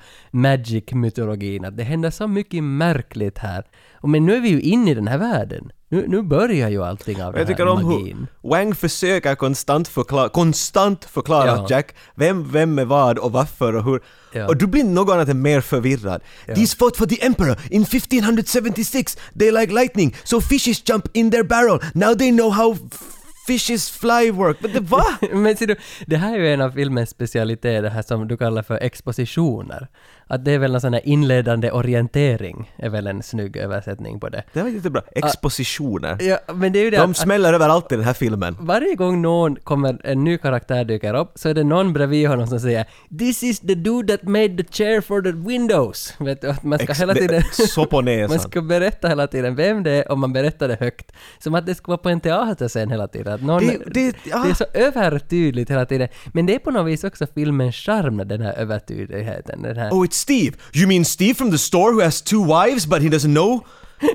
Speaker 2: magic-mytologin? Att det händer så mycket märkligt här. Och men nu är vi ju inne i den här världen. Nu, nu börjar ju allting av
Speaker 1: Och jag
Speaker 2: den
Speaker 1: tycker
Speaker 2: här
Speaker 1: om
Speaker 2: magin.
Speaker 1: hur Wang försöker konstant förklara, konstant förklara
Speaker 2: Ja.
Speaker 1: åt Jack vem, vem är vad och varför och hur.
Speaker 2: Ja.
Speaker 1: Och du blir något annat än mer förvirrad. These fought for the emperor in 1576. They like lightning, so fishes jump in their barrel. Now they know how f- fishes fly work. Men det va?
Speaker 2: Men ser du, det här är ju en av filmens specialiteter, det här som du kallar för expositioner. Att det är väl någon sån här inledande orientering, är väl en snygg översättning på det.
Speaker 1: Det var jättebra. Expositioner.
Speaker 2: Ja, men det är ju det
Speaker 1: De
Speaker 2: att, att
Speaker 1: smäller överallt i den här filmen.
Speaker 2: varje gång någon kommer, en ny karaktär dyker upp, så är det någon bredvid honom som säger ”This is the dude that made the chair for the windows”. Vet du, att man ska
Speaker 1: Ex-
Speaker 2: hela
Speaker 1: det-
Speaker 2: tiden...
Speaker 1: så på
Speaker 2: Man
Speaker 1: näsan.
Speaker 2: ska berätta hela tiden vem det är och man berättar det högt. Som att det ska vara på en teaterscen hela tiden. Att någon,
Speaker 1: Det- det- ja.
Speaker 2: det är så övertydligt hela tiden. Men det är på något vis också filmens charm, den här övertydligheten. Den här,
Speaker 1: Oh, it's Steve. You mean Steve from the store who has two wives but he doesn't know?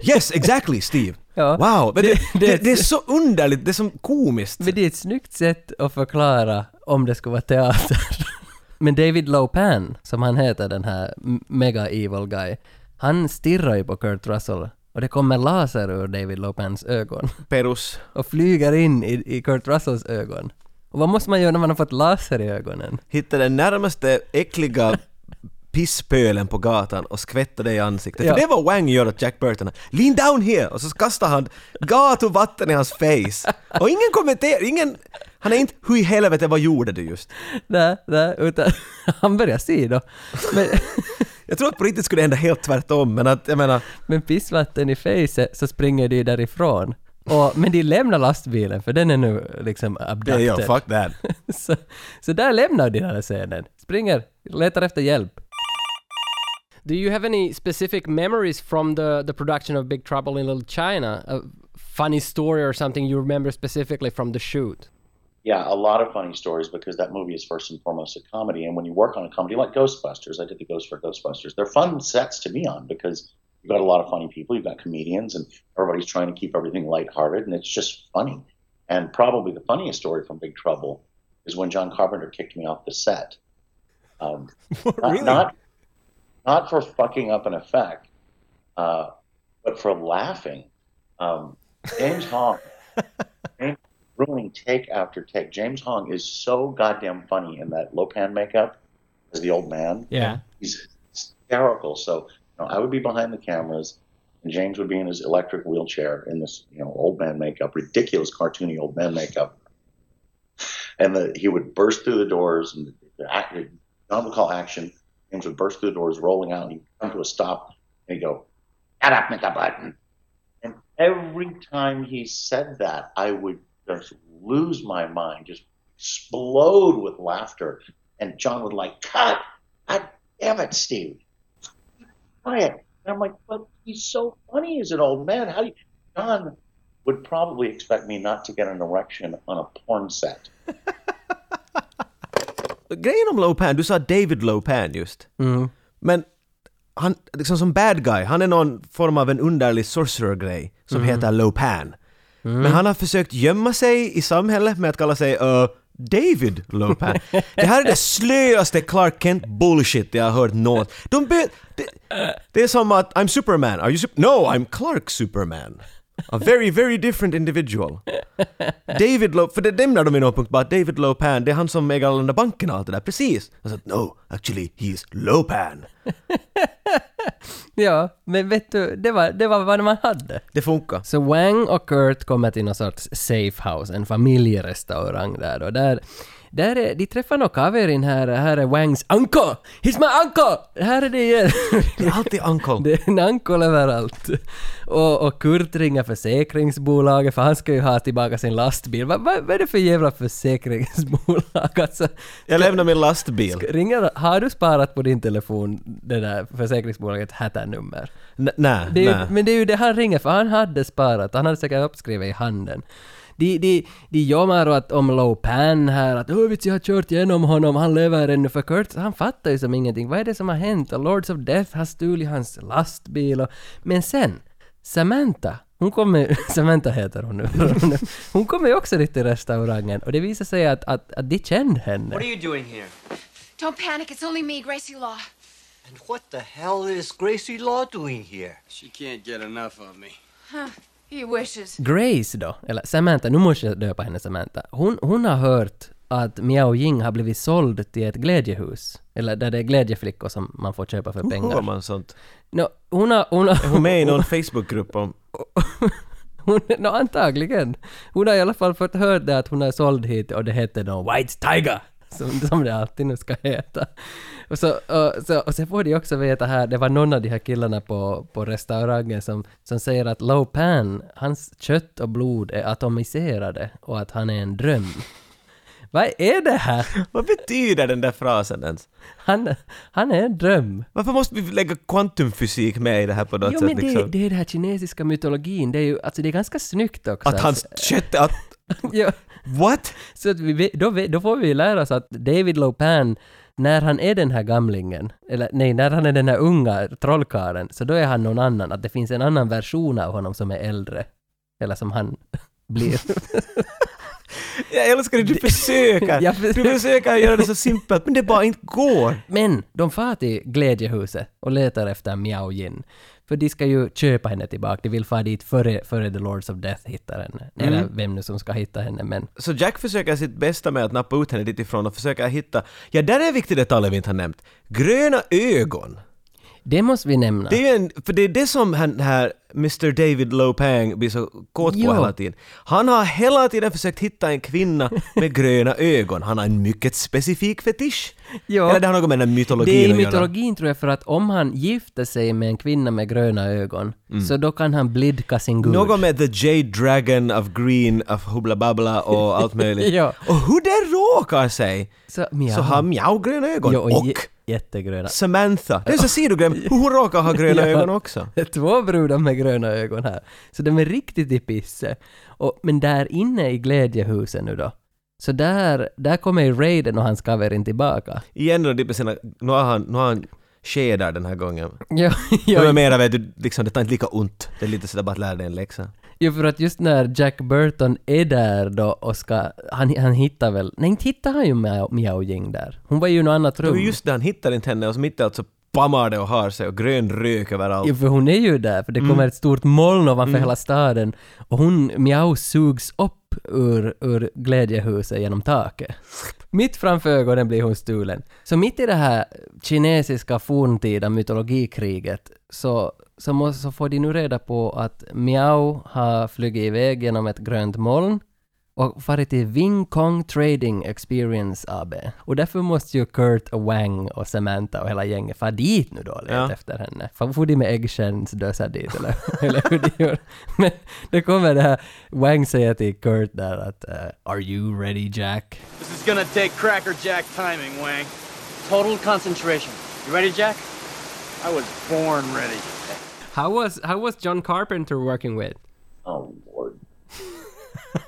Speaker 1: Yes, exactly, Steve.
Speaker 2: Ja.
Speaker 1: Wow, men det,
Speaker 2: Det-
Speaker 1: det,
Speaker 2: det-
Speaker 1: det är så underligt, det är som komiskt.
Speaker 2: Men det är ett snyggt sätt att förklara om det skulle vara teater. Men David Lopan, som han heter, den här m- mega evil guy, han stirrar ju på Kurt Russell och det kommer laser ur David Lopans ögon
Speaker 1: Perus.
Speaker 2: och flyger in i, i Kurt Russells ögon. Och vad måste man göra när man har fått laser i ögonen?
Speaker 1: Hitta den närmaste äckliga pisspölen på gatan och skvätta det i ansiktet.
Speaker 2: Ja.
Speaker 1: För det var Wang gör åt Jack Burton. Lean down here! Och så kastar han gatuvatten i hans face. Och ingen kommenterar, ingen... Han är inte “Hur i helvete, vad gjorde du just?”
Speaker 2: Nej, nej, utan han börjar se då. Men,
Speaker 1: Jag tror att på riktigt skulle det hända helt tvärtom, men att jag menar...
Speaker 2: men pissvatten i facet så springer de därifrån. Och, men de lämnar lastbilen för den är nu liksom
Speaker 1: Ja,
Speaker 2: abducted.
Speaker 1: ja, fuck that.
Speaker 2: så, så där lämnar de den här scenen. Springer, letar efter hjälp.
Speaker 11: Do you have any specific memories from the, the production of Big Trouble in Little China? A funny story or something you remember specifically from the shoot?
Speaker 9: Yeah, a lot of funny stories because that movie is first and foremost a comedy. And when you work on a comedy like Ghostbusters, I did the Ghost for Ghostbusters. They're fun sets to be on because you've got a lot of funny people, you've got comedians, and everybody's trying to keep everything lighthearted, and it's just funny. And probably the funniest story from Big Trouble is when John Carpenter kicked me off the set. Um, not, not not for fucking up an effect, uh, but for laughing. Um, James Hong ruining take after take. James Hong is so goddamn funny in that Lopan makeup as the old man.
Speaker 11: Yeah.
Speaker 9: He's hysterical. So you know, I would be behind the cameras, and James would be in his electric wheelchair in this you know old man makeup, ridiculous cartoony old man makeup, and the, he would burst through the doors and the act, John would call action. James would burst through the doors, rolling out. And he'd come to a stop and he'd go, "Shut up, Mr. Button." And every time he said that, I would just lose my mind, just explode with laughter. And John would like, "Cut! God damn it, Steve! Quiet!" And I'm like, "But he's so funny as an old man. How do you?" John would probably expect me not to get an erection on a porn set.
Speaker 1: Grejen om Lopan, du sa David Lopan just. Men han, liksom som bad guy, han är någon form av en underlig sorcerer-grej som
Speaker 2: Mm.
Speaker 1: heter Lopan. Men han har försökt gömma sig i samhället med att kalla sig uh, David Lopan. det här är det slöaste Clark Kent bullshit jag har hört något. De be- det, det är som att I'm Superman, are you sup- No, I'm Clark Superman. A very, very different individual. David Lo... För det nämner de i någon punkt bara, David Lopan, det är han som äger alla de där bankerna och allt det där. Precis! Han sa no, actually he is Lopan.
Speaker 2: Ja, men vet du, det var, det var vad man hade.
Speaker 1: Det funkar.
Speaker 2: Så Wang och Kurt kommer till någon sorts safehouse, en familjerestaurang där då. Där, där är, de träffar nog kaverin här, här är Wangs uncle! He's my uncle! Här är det igen!
Speaker 1: Det är alltid uncle.
Speaker 2: det är en uncle överallt. Och, och Kurt ringer försäkringsbolaget för han ska ju ha tillbaka sin lastbil. Vad vad- vad är det för jävla försäkringsbolag? Alltså,
Speaker 1: Jag lämnar min lastbil.
Speaker 2: ringer, har du sparat på din telefon det där försäkringsbolaget nummer?
Speaker 1: N- Nej,
Speaker 2: Det är
Speaker 1: nej.
Speaker 2: ju, men det är ju det han ringer för, han hade sparat, han hade säkert uppskrivet i handen. De, de, de jommar åt om Lopan här, att "Åh, vet du, jag har kört igenom honom, han lever ännu för Kurt, han fattar ju som ingenting. Vad är det som har hänt? Och Lords of Death har stulit hans lastbil och... Men sen, Samantha, hon kommer... Samantha heter hon nu. Hon kommer ju också dit till restaurangen och det visar sig att, att, att de kände henne.
Speaker 10: What are you doing here?
Speaker 5: Don't panic. It's only me, Gracie Law.
Speaker 10: And what the hell is Gracie Law doing here? She can't get enough of me.
Speaker 5: Huh. He wishes.
Speaker 2: Grace då, eller Samantha, nu måste jag döpa henne Samantha. Hon, hon har hört att Miao Jing har blivit såld till ett glädjehus. Eller där det är glädjeflickor som man får köpa för
Speaker 1: Hur
Speaker 2: pengar.
Speaker 1: hör man sånt?
Speaker 2: Nå, hon har... Hon har
Speaker 1: Är hon med i någon Facebookgrupp om...
Speaker 2: hon, nå, antagligen. Hon har i alla fall fått höra det att hon är såld hit och det heter någon White Tiger. Som, som det alltid nu ska heta. Och, så, och, så, och sen får de också veta här, det var någon av de här killarna på, på restaurangen som, som säger att Lopan, hans kött och blod är atomiserade och att han är en dröm. Vad är det här?
Speaker 1: Vad betyder den där frasen ens?
Speaker 2: Han, han är en dröm.
Speaker 1: Varför måste vi lägga kvantumfysik med i det här på något
Speaker 2: Jo
Speaker 1: sätt
Speaker 2: men det,
Speaker 1: liksom?
Speaker 2: det är den här kinesiska mytologin, det är ju, alltså det är ganska snyggt också.
Speaker 1: Att hans kött... Att...
Speaker 2: ja.
Speaker 1: What?
Speaker 2: Så att vi, vet- då, vet- då får vi lära oss att David Lopan, när han är den här gamlingen, eller nej, när han är den här unga trollkarlen, så då är han någon annan. Att det finns en annan version av honom som är äldre. Eller som han blir.
Speaker 1: Jag älskar det, du försöker!
Speaker 2: Jag
Speaker 1: Du försöker göra det så simpelt, men det bara inte går!
Speaker 2: Men de far till glädjehuset och letar efter Miao Jin. För de ska ju köpa henne tillbaka. De vill fara dit före, före The Lords of Death hittar henne.
Speaker 1: Mm.
Speaker 2: Eller vem nu som ska hitta henne. Men
Speaker 1: Så Jack försöker sitt bästa med att nappa ut henne ditifrån och försöka hitta... Ja, där är en viktig detalj vi inte har nämnt. Gröna ögon.
Speaker 2: det måste vi nämna.
Speaker 1: Det är ju en, för det är det som han här Mr David Lopang blir så kåt på
Speaker 2: Jo.
Speaker 1: hela tiden. Han har hela tiden försökt hitta en kvinna med gröna ögon. Han har en mycket specifik fetisch.
Speaker 2: Ja.
Speaker 1: Eller det har något med den här mytologin
Speaker 2: Det är i
Speaker 1: att göra.
Speaker 2: mytologin tror jag för att om han gifter sig med en kvinna med gröna ögon så då kan han blidka sin gud.
Speaker 1: Något Mm. med the Jade Dragon of Green of Hubla Babbla och allt möjligt.
Speaker 2: Ja.
Speaker 1: Och hur det råkar sig
Speaker 2: Så,
Speaker 1: så har Miao gröna ögon.
Speaker 2: Ja, och
Speaker 1: och
Speaker 2: jä- jättegröna.
Speaker 1: Samantha. Det är så sidogrepp. Hur hon råkar ha gröna
Speaker 2: Ja.
Speaker 1: ögon också.
Speaker 2: Det är två brudar med gröna ögon här. Så de är riktigt i pisse. Och, men där inne i glädjehuset nu då, så där, där kommer ju Raiden och hans kaverin tillbaka.
Speaker 1: Igen då, det är på typ sina, nu har han, nu har han skedar den här gången.
Speaker 2: Ja,
Speaker 1: De är
Speaker 2: ja,
Speaker 1: mera vet du, liksom, det tar inte lika ont. Det är lite sådär bara att lära dig en läxa.
Speaker 2: ja, för att just när Jack Burton är där då och ska... Han, han hittar väl... Nej, inte hittar han ju Miao- Miao Jing där. Hon var ju i något annat
Speaker 1: Det var
Speaker 2: rum.
Speaker 1: ju just det, han hittar inte henne och så mitt i allt så pammar det och har sig och grön rök överallt.
Speaker 2: Ja, för hon är ju där, för det
Speaker 1: Mm.
Speaker 2: kommer ett stort moln ovanför
Speaker 1: Mm.
Speaker 2: hela staden. Och hon, Miao, sugs upp ur, ur glädjehuset genom taket. Mitt framför ögonen blir hon stulen. Så mitt i det här kinesiska forntida mytologikriget så, så, må, så får de nu reda på att Miao har flugit iväg genom ett grönt moln och farit till Wing Kong Trading Experience AB. Och därför måste ju Kurt och Wang och Samantha och hela gänget fara dit nu då och leta
Speaker 1: Ja.
Speaker 2: efter henne. Fan, Får de med äggstjärnsdösar dit eller, eller hur de gör? Men det kommer det här, Wang säger till Kurt där att eh, “Are you ready Jack?”
Speaker 6: This is gonna take crackerjack timing, Wang. Total concentration. You ready, Jack? I was born ready.
Speaker 11: How was how was John Carpenter working with?
Speaker 9: Oh Lord,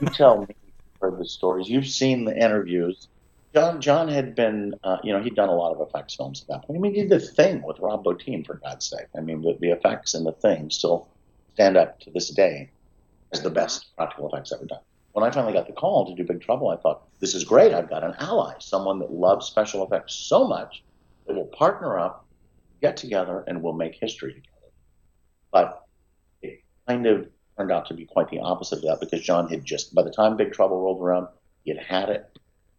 Speaker 9: you tell me. you've Heard the stories. You've seen the interviews. John John had been, uh, you know, he'd done a lot of effects films at that point. I mean, he did the thing with Rob Bottin for God's sake. I mean, the, the effects and the thing still stand up to this day as the best practical effects ever done. When I finally got the call to do Big Trouble, I thought, this is great. I've got an ally, someone that loves special effects so much that we'll partner up, get together, and we'll make history together. But it kind of turned out to be quite the opposite of that because John had just, by the time Big Trouble rolled around, he had had it.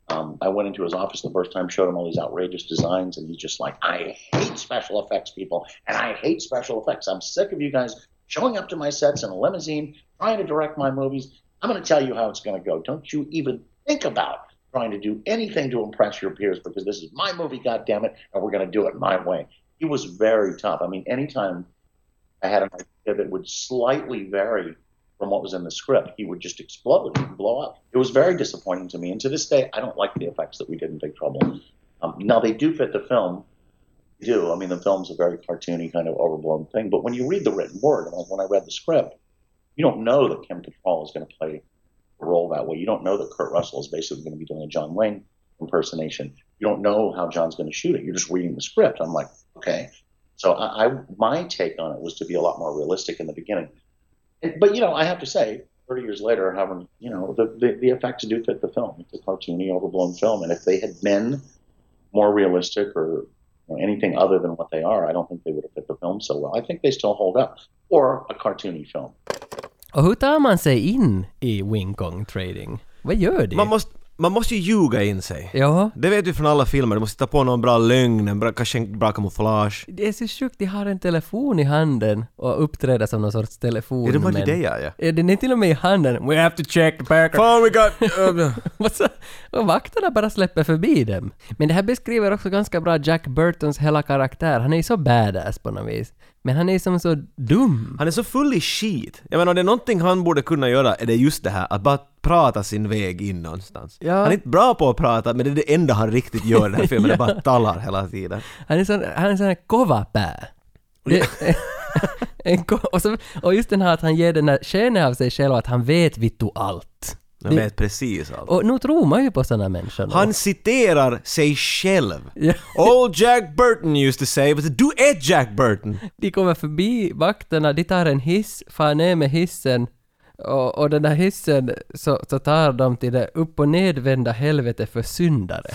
Speaker 9: Um, I went into his office the first time, showed him all these outrageous designs, and he's just like, I hate special effects people, and I hate special effects. I'm sick of you guys showing up to my sets in a limousine, trying to direct my movies. I'm going to tell you how it's going to go. Don't you even think about trying to do anything to impress your peers because this is my movie, goddammit, and we're going to do it my way. He was very tough. I mean, anytime I had an idea that would slightly vary from what was in the script, he would just explode and blow up. It was very disappointing to me, and to this day, I don't like the effects that we did in Big Trouble. Um, now they do fit the film, they do. I mean, the film's a very cartoony kind of overblown thing, but when you read the written word, and like when I read the script, you don't know that Kim Cattrall is going to play the role that way. You don't know that Kurt Russell is basically going to be doing a John Wayne impersonation. You don't know how John's going to shoot it. You're just reading the script. I'm like, okay. So I, I my take on it was to be a lot more realistic in the beginning. And- But you know, I have to say, 30 years later, having you know the, the the effects do fit the film. It's a cartoony, overblown film, and if they had been more realistic or you know, anything other than what they are, I don't think they would have fit the film so well. I think they still hold up, or a cartoony film.
Speaker 2: Och hur tar man sig in i Wing Kong Trading? Vad gör de?
Speaker 1: Man måste, man måste ju ljuga in sig.
Speaker 2: Ja.
Speaker 1: Det vet vi från alla filmer, du måste ta på någon bra lögn, en bra, kanske en bra kamouflage.
Speaker 2: Det är så sjukt, de har en telefon i handen och uppträder som någon sorts telefon.
Speaker 1: Är det bara
Speaker 2: men-
Speaker 1: det jag gör?
Speaker 2: Ja, Den är till och med i handen. We have to check the packer.
Speaker 1: Fan, we got... um,
Speaker 2: och, så, och vakterna bara släpper förbi dem. Men det här beskriver också ganska bra Jack Burtons hela karaktär. Han är ju så badass på något vis. Men han är som så dum.
Speaker 1: Han är så full i skit. Jag menar, om det är någonting han borde kunna göra är det just det här att bara prata sin väg in någonstans.
Speaker 2: Ja.
Speaker 1: Han är inte bra på att prata, men det är det enda han riktigt gör i den här filmen, det bara talar hela tiden.
Speaker 2: Han är sån, han är sån här kovapää. Det, en, ko- och, så, och just den här att han ger den här skenet av sig själv att han vet vittu allt.
Speaker 1: Jag
Speaker 2: Det-
Speaker 1: vet precis allt.
Speaker 2: Och nu tror man ju på såna människor. nu.
Speaker 1: Han citerar sig själv.
Speaker 2: Ja.
Speaker 1: Old Jack Burton used to say, but du är Jack Burton!
Speaker 2: De kommer förbi vakterna, de tar en hiss, far ner med hissen och, och den där hissen så, så tar de till det upp och nedvända helvete för syndare.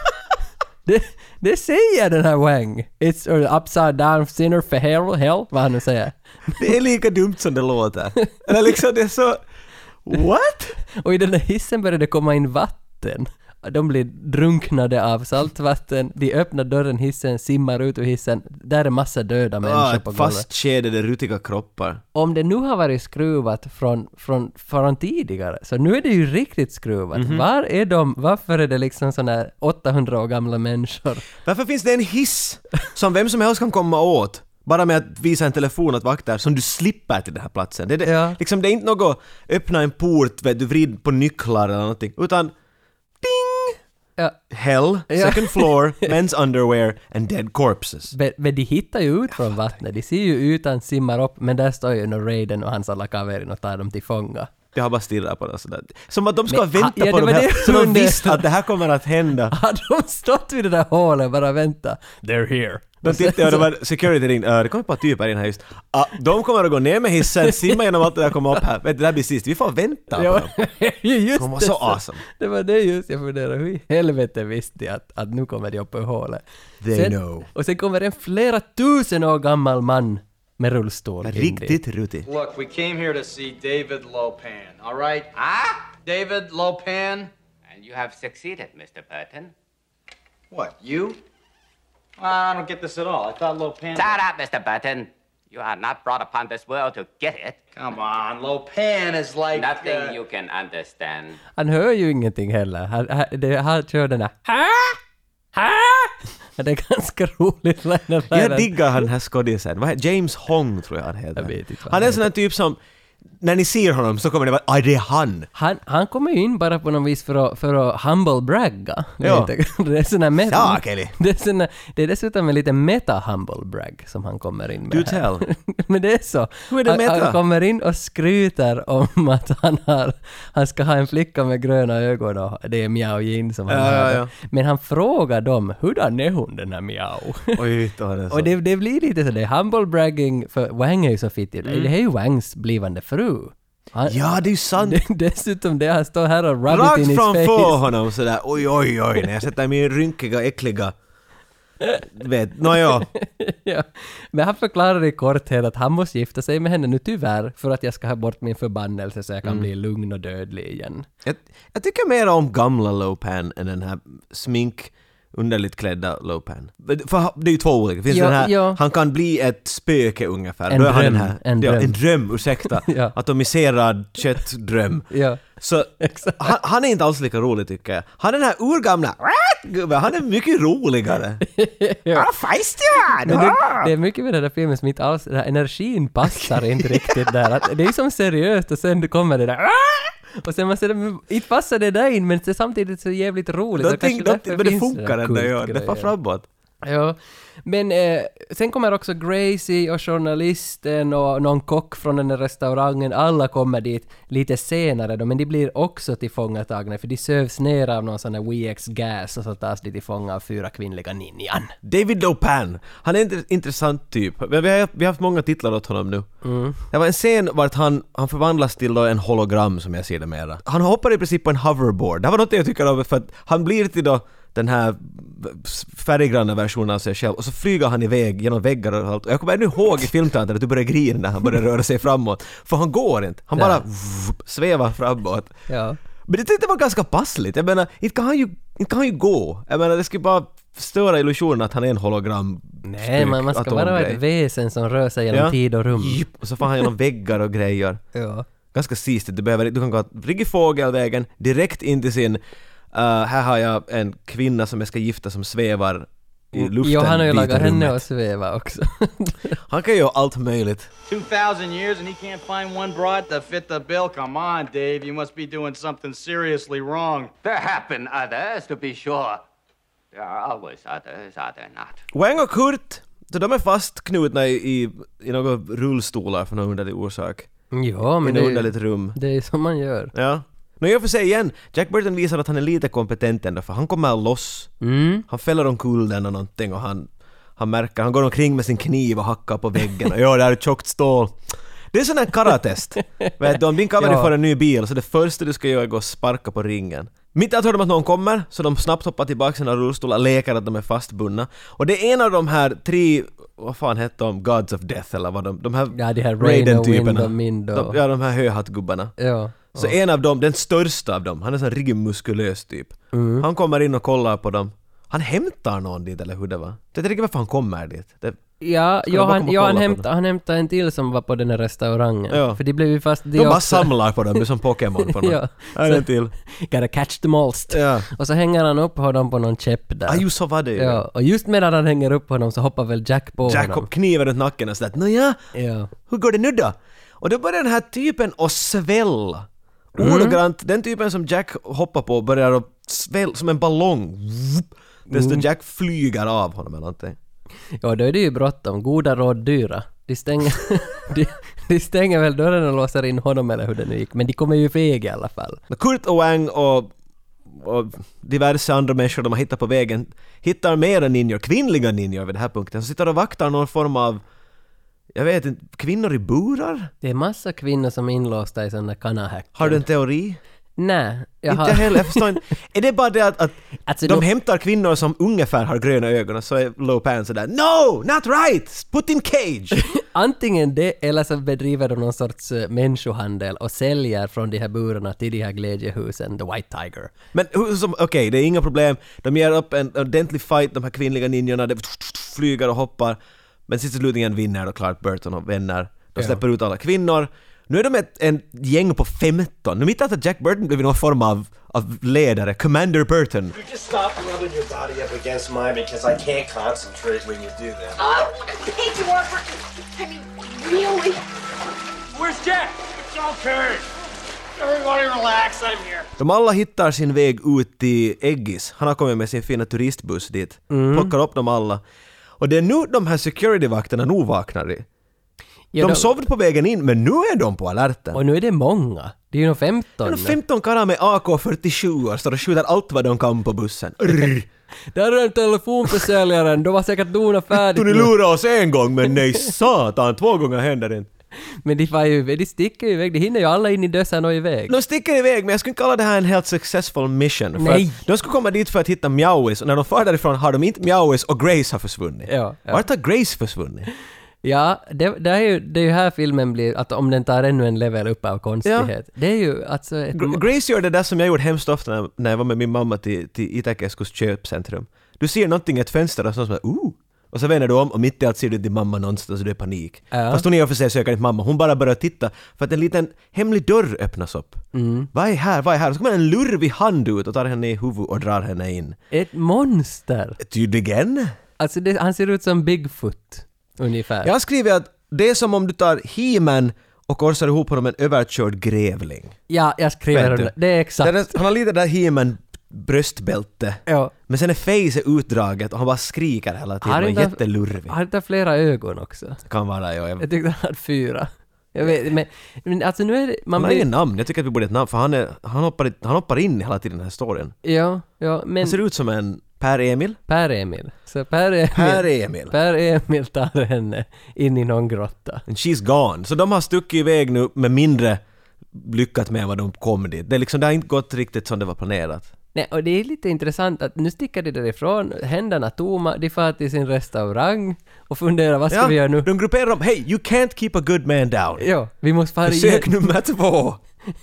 Speaker 2: Det, det säger den här Wang. It's an upside down sinner for hell, hell vad han nu säger.
Speaker 1: Det är lika dumt som det låter. Eller liksom det är så... What?
Speaker 2: Och i den där hissen började det komma in vatten. De blir drunknade av saltvatten, de öppnar dörren hissen, simmar ut ur hissen. Där är massa döda människor på
Speaker 1: Ah,
Speaker 2: golvet.
Speaker 1: fastkedjade rutiga kroppar.
Speaker 2: Om det nu har varit skruvat från, från, från tidigare, så nu är det ju riktigt skruvat.
Speaker 1: Mhm.
Speaker 2: Var är de? Varför är det liksom sådana här 800 år gamla människor?
Speaker 1: Varför finns det en hiss som vem som helst kan komma åt? Bara med att visa en telefon att vakta som du slipper till den här platsen. Det är, det, liksom, det är inte något öppna en port, vet du vrid på nycklar eller någonting, utan ding! Hell,
Speaker 2: Ja.
Speaker 1: second floor, men's underwear and dead corpses.
Speaker 2: Men- Men de hittar ju ut från vattnet, de ser ju utan simmar upp, men där står ju nu Raiden och hans alla kaverin och tar dem till fånga.
Speaker 1: Jag har bara stirrat på dem sådär. Som att de ska
Speaker 2: Men,
Speaker 1: vänta
Speaker 2: ja, det
Speaker 1: på
Speaker 2: var
Speaker 1: de här,
Speaker 2: det
Speaker 1: så
Speaker 2: jag
Speaker 1: de
Speaker 2: undrade.
Speaker 1: visste att det här kommer att hända.
Speaker 2: Hade de stått vid det där hålet och bara vänta? They're here.
Speaker 1: De tittade och det
Speaker 2: alltså-
Speaker 1: var security ringde, "Äh, det kommer ett par typer in här just. Ah, de kommer att gå ner med hissen, simma genom allt det där, komma upp här. Vet du, det här blir sist, vi får vänta på
Speaker 2: Ja,
Speaker 1: dem.
Speaker 2: just
Speaker 1: De var
Speaker 2: det,
Speaker 1: så awesome.
Speaker 2: Det var det just jag funderade, hur i helvete visste jag att, att nu kommer de upp ur hålet?
Speaker 1: They know.
Speaker 2: Och sen kommer en flera tusen år gammal man med rullstol. in
Speaker 1: Riktigt
Speaker 2: dit.
Speaker 1: rutig.
Speaker 6: Look, we came here to see David Lopan, all right? Ah? David Lopan? And you have succeeded, Mr. Burton. What, you? I don't get this at all. I thought Lopan.
Speaker 12: Shut up, Mr. Burton. You are not brought upon this world to get it.
Speaker 6: Come on, Lopan is like.
Speaker 12: Nothing
Speaker 6: uh,
Speaker 12: you can understand.
Speaker 2: Han hör ju ingenting heller. Han, han, det, han kör den där "Ha? Ha?" Det är ganska roligt. Leonard
Speaker 1: Jag
Speaker 2: Leonard.
Speaker 1: diggar han den här skådisen. Vad heter- James Hong tror jag han heter.
Speaker 2: vad
Speaker 1: han är en sån här typ som, när ni ser honom så kommer ni vara ”Aj, det är han”.
Speaker 2: Han, han kommer ju in bara på något vis för att, för att humble bragga.
Speaker 1: Ja.
Speaker 2: Lite. Det är sån här meta.
Speaker 1: Sakeli.
Speaker 2: Det är, sån här, det är dessutom en liten meta humble brag som han kommer in med.
Speaker 1: Do
Speaker 2: här.
Speaker 1: tell.
Speaker 2: Men det är så.
Speaker 1: Hur är det
Speaker 2: han,
Speaker 1: meta?
Speaker 2: han kommer in och skryter om att han, har, han ska ha en flicka med gröna ögon och det är Miao Jin som han
Speaker 1: Ja,
Speaker 2: har.
Speaker 1: ja, ja.
Speaker 2: Men han frågar dem, hurdan är hon den här Miao?
Speaker 1: Oj, då är det så.
Speaker 2: Och det, det blir lite sådär humble bragging, för Wang är ju så fittig.
Speaker 1: Mm.
Speaker 2: Det här är ju Wangs blivande fru. Han,
Speaker 1: ja, det är ju sant!
Speaker 2: Dessutom det, han står här och rub it in
Speaker 1: Rakt
Speaker 2: his face.
Speaker 1: framför honom sådär, oj, oj, oj, när jag sätter min rynkiga, äckliga... Vet, nåja.
Speaker 2: ja. Men han förklarar i korthet att han måste gifta sig med henne nu tyvärr, för att jag ska ha bort min förbannelse så jag kan
Speaker 1: Mm.
Speaker 2: bli lugn och dödlig igen.
Speaker 1: Jag, jag tycker mer om gamla Lopan än den här smink underligt klädda Lopan. För ha- det är ju två olika. Det Finns
Speaker 2: Ja,
Speaker 1: den här,
Speaker 2: ja.
Speaker 1: Han kan bli ett spöke ungefär.
Speaker 2: En
Speaker 1: är han
Speaker 2: dröm,
Speaker 1: den här,
Speaker 2: en
Speaker 1: ja,
Speaker 2: dröm.
Speaker 1: en dröm, ursäkta.
Speaker 2: Ja.
Speaker 1: Atomiserad köttdröm.
Speaker 2: Ja.
Speaker 1: Så han, han är inte alls lika rolig tycker jag. Han är den här urgamla gubben, han är mycket roligare.
Speaker 2: Ja.
Speaker 1: Ah, feistig han!
Speaker 2: Men det,
Speaker 1: Ah!
Speaker 2: det är mycket med den där filmen som inte alls, den här energin passar inte riktigt där. Att det är som seriöst och sen kommer det där "Ah!" och sen man säger "Men inte passar det där in men det är samtidigt så jävligt roligt. och
Speaker 1: Någonting-
Speaker 2: kanske
Speaker 1: någonting-
Speaker 2: därför
Speaker 1: men det
Speaker 2: finns
Speaker 1: funkar
Speaker 2: där
Speaker 1: ändå, ja. Det
Speaker 2: kultgrejen.
Speaker 1: far framåt.
Speaker 2: Ja, men eh, sen kommer också Gracie och journalisten och någon kock från den där restaurangen. Alla kommer dit lite senare då, men de blir också tillfångatagna för de sövs ner av någon sån där WX gas och så tas de tillfånga av fyra kvinnliga ninjan.
Speaker 1: David Lopan! Han är en inter- intressant typ. Vi vi har, vi har haft många titlar åt honom nu.
Speaker 2: Mm.
Speaker 1: Det var en scen vart han, han förvandlas till då en hologram som jag ser det mera. Han hoppar i princip på en hoverboard. Det här var något jag tycker om för att han blir till då den här färggranna versionen av sig själv och så flyger han iväg genom väggar och allt. Och Jag kommer ännu ihåg i filmteatern att du började grina när han började röra sig framåt. För han går inte. Han bara
Speaker 2: Ja.
Speaker 1: vup, svävar framåt.
Speaker 2: Ja.
Speaker 1: Men det tyckte jag var ganska passligt. Jag menar, inte kan han ju, inte kan han ju gå. Jag menar, det skulle bara störa illusionen att han är en hologram
Speaker 2: Nej, man, man ska bara vara ett väsen som rör sig genom
Speaker 1: Ja.
Speaker 2: tid och rum.
Speaker 1: Jipp, Och så får han genom väggar och grejer.
Speaker 2: Ja.
Speaker 1: Ganska sistigt. Du, behöver, du kan gå riktigt fågelvägen direkt in till sin... eh, här har jag en kvinna som jag ska gifta som svävar i luften.
Speaker 2: Jo, Mm. han har ju
Speaker 1: dit i
Speaker 2: lagat henne
Speaker 1: rummet.
Speaker 2: att sväva också.
Speaker 1: Han kan ju göra allt möjligt.
Speaker 6: 2,000 years and he can't find one broad to fit the bill? Come on, Dave. You must be doing something seriously wrong.
Speaker 12: There happen others, to be sure. There are always others, are there not?
Speaker 1: Wang och Kurt, så de är fastknutna i, i, i några rullstolar för någon underlig orsak.
Speaker 2: ja, men
Speaker 1: I
Speaker 2: det,
Speaker 1: något
Speaker 2: är
Speaker 1: underligt
Speaker 2: ju-
Speaker 1: rum.
Speaker 2: det är ju som man gör.
Speaker 1: Ja. Men i och för sig igen, Jack Burton visar att han är lite kompetent ändå för han kommer loss.
Speaker 2: Mm.
Speaker 1: Han fäller omkull den och någonting och han, han märker, han går omkring med sin kniv och hackar på väggen och ja, där är tjockt stål. Det är sån här karatest. Vet du, om din kamera
Speaker 2: Ja.
Speaker 1: får en ny bil så det första du ska göra är att gå och sparka på ringen. Mitt i att höra om att någon kommer, så de snabbt hoppar tillbaka sina rullstolar, leker att de är fastbundna. Och det är en av de här tre, vad fan hette de, Gods of Death eller vad de, de här,
Speaker 2: Ja, de här Raino,
Speaker 1: Raiden-typerna.
Speaker 2: Windo, Mindo.
Speaker 1: De, ja, de här höhattgubbarna.
Speaker 2: Ja.
Speaker 1: Så en av dem, den största av dem, han är en sån riktigt muskulös typ.
Speaker 2: Mm.
Speaker 1: Han kommer in och kollar på dem. Han hämtar någon dit eller hur det var? Det är inte riktigt varför han kommer dit. Det,
Speaker 2: Ja,
Speaker 1: Ska de
Speaker 2: ja,
Speaker 1: bara
Speaker 2: han,
Speaker 1: komma och
Speaker 2: ja han,
Speaker 1: kolla på
Speaker 2: hämt, han hämtade en till som var på den här restaurangen.
Speaker 1: Ja.
Speaker 2: För de blev ju fast...
Speaker 1: De bara samlar på dem, det är som Pokémon på något.
Speaker 2: ja.
Speaker 1: Här är en
Speaker 2: Så-
Speaker 1: till.
Speaker 2: Gotta catch them all.
Speaker 1: Ja.
Speaker 2: Och så hänger han upp honom på någon käpp där.
Speaker 1: Ah, just så var det ju.
Speaker 2: Ja, och just medan han hänger upp honom så hoppar väl Jack på
Speaker 1: Jack
Speaker 2: honom.
Speaker 1: hopp kniven runt nacken och sådär nåja,
Speaker 2: Ja.
Speaker 1: hur går det nu då? Och då börjar den här typen att svälla.
Speaker 2: Mm.
Speaker 1: Ordagrant, den typen som Jack hoppar på börjar att svälla som en ballong. Vup. Desto
Speaker 2: Mm.
Speaker 1: Jack flyger av honom eller någonting.
Speaker 2: Ja, då är det ju bråttom. Goda råd dyra. De stänger, de, de stänger väl dörren och låser in honom eller hur det nu gick. Men de kommer ju feg i alla fall.
Speaker 1: Kurt och Wang och, och diverse andra människor de har hittat på vägen hittar mera ninjor, kvinnliga ninjor vid den här punkten, som sitter och vaktar någon form av, jag vet inte, kvinnor i burar?
Speaker 2: Det är massa kvinnor som är inlåsta i sådana kanahäckor.
Speaker 1: Har du en teori?
Speaker 2: Nej, jag
Speaker 1: Inte
Speaker 2: har...
Speaker 1: jag heller, jag förstår inte. Är det bara det att, att
Speaker 2: Alltså,
Speaker 1: de
Speaker 2: då-
Speaker 1: hämtar kvinnor som ungefär har gröna ögon och så är Lopan sådär No! Not right! Put in cage!
Speaker 2: Antingen det eller så bedriver de någon sorts eh, människohandel och säljer från de här burarna till de här glädjehusen, The White Tiger.
Speaker 1: Men hur som, okej, det är inga problem. De ger upp en ordentlig fight, de här kvinnliga ninjorna, det flyger och hoppar. Men sist och slutligen vinner då Clark Burton och vänner. De
Speaker 2: Ja.
Speaker 1: släpper ut alla kvinnor. Nu är de ett en gäng på 15. Nu mitt i allt har Jack Burton blivit någon form av, av ledare, Commander Burton.
Speaker 13: You just stop rubbing your body up against mine because I can't concentrate when you do that.
Speaker 5: Oh, I hate you, Arthur. I mean, really? Where's Jack?
Speaker 10: It's okay. Everybody relax, I'm here.
Speaker 1: De alla hittar sin väg ut till Eggis. Han har kommit med sin fina turistbuss dit. Plockar upp dem alla. Och det är nu de här security-vakterna nog vaknar i.
Speaker 2: Ja,
Speaker 1: de
Speaker 2: de-
Speaker 1: sovde på vägen in, men nu är de på alerten.
Speaker 2: Och nu är det många. Det är ju nog 15.
Speaker 1: Det är nog 15 karlar med AK47 står och skjuter allt vad de kan på bussen. Rrr.
Speaker 2: Där är en telefonförsäljaren, de har säkert donat färdigt
Speaker 1: Tror ni
Speaker 2: nu.
Speaker 1: lura oss en gång, men nej satan, två gånger händer det inte.
Speaker 2: Men de far ju iväg, de sticker ju iväg, de hinner ju alla in i dösen och iväg.
Speaker 1: De sticker iväg, men jag skulle inte kalla det här en helt successful mission. För
Speaker 2: Nej.
Speaker 1: att De skulle komma dit för att hitta Mjauis, och när de far därifrån har de inte Mjauis och Grace har försvunnit.
Speaker 2: Ja, ja.
Speaker 1: Vart har Grace försvunnit?
Speaker 2: Ja, det, det, är ju, det är ju här filmen blir, att om den tar ännu en level upp av konstighet. Det är ju alltså ett...
Speaker 1: Gr- Grace gör det där som jag gjorde hemskt ofta när, när jag var med min mamma till, till Itäkeskus köpcentrum. Du ser någonting i ett fönster och så sådär ”ooh” och så vänder du om och mitt i allt ser du din mamma någonstans och du är i panik.
Speaker 2: Ja.
Speaker 1: Fast hon i och för sig söker inte mamma, hon bara börjar titta för att en liten hemlig dörr öppnas upp.
Speaker 2: Mm.
Speaker 1: Vad är här, vad är här? Och så kommer en lurvig hand ut och tar henne i huvudet och drar henne in.
Speaker 2: Ett monster!
Speaker 1: Tydligen.
Speaker 2: Alltså det, han ser ut som Bigfoot, ungefär.
Speaker 1: Jag har skrivit att det är som om du tar he och korsar ihop honom med en överkörd grävling.
Speaker 2: Ja, jag skriver
Speaker 1: Vet du?
Speaker 2: under. Det är exakt.
Speaker 1: Det är- han har lite det där he bröstbälte.
Speaker 2: Ja.
Speaker 1: Men sen är face utdraget och han bara skriker hela tiden. Han är
Speaker 2: inte-
Speaker 1: Typ jättelurvig.
Speaker 2: Han har flera ögon också.
Speaker 1: Kan vara, ja.
Speaker 2: Jag
Speaker 1: Jag,
Speaker 2: tyckte han hade fyra. Jag vet, men, men alltså nu är det... Man
Speaker 1: han har
Speaker 2: blir,
Speaker 1: inget namn. Jag tycker att vi borde ha ett namn för han, är, han, hoppar, i- han hoppar in hela tiden i den här storyn.
Speaker 2: Ja, ja, men...
Speaker 1: han ser ut som en Per-Emil.
Speaker 2: Per-Emil. Så Per-Emil...
Speaker 1: Per-Emil.
Speaker 2: Per-Emil tar henne in i någon grotta.
Speaker 1: And she's gone. Så de har stuckit iväg nu med mindre lyckat med än vad de kom dit. Det, är liksom, det har inte gått riktigt som det var planerat.
Speaker 2: Nej, och det är lite intressant att nu sticker de därifrån, händerna tomma, de far till sin restaurang och funderar vad ska
Speaker 1: Ja,
Speaker 2: vi göra nu?
Speaker 1: De grupperar om. Hey, you can't keep a good man down.
Speaker 2: Ja, vi måste fara
Speaker 1: Försök nummer två.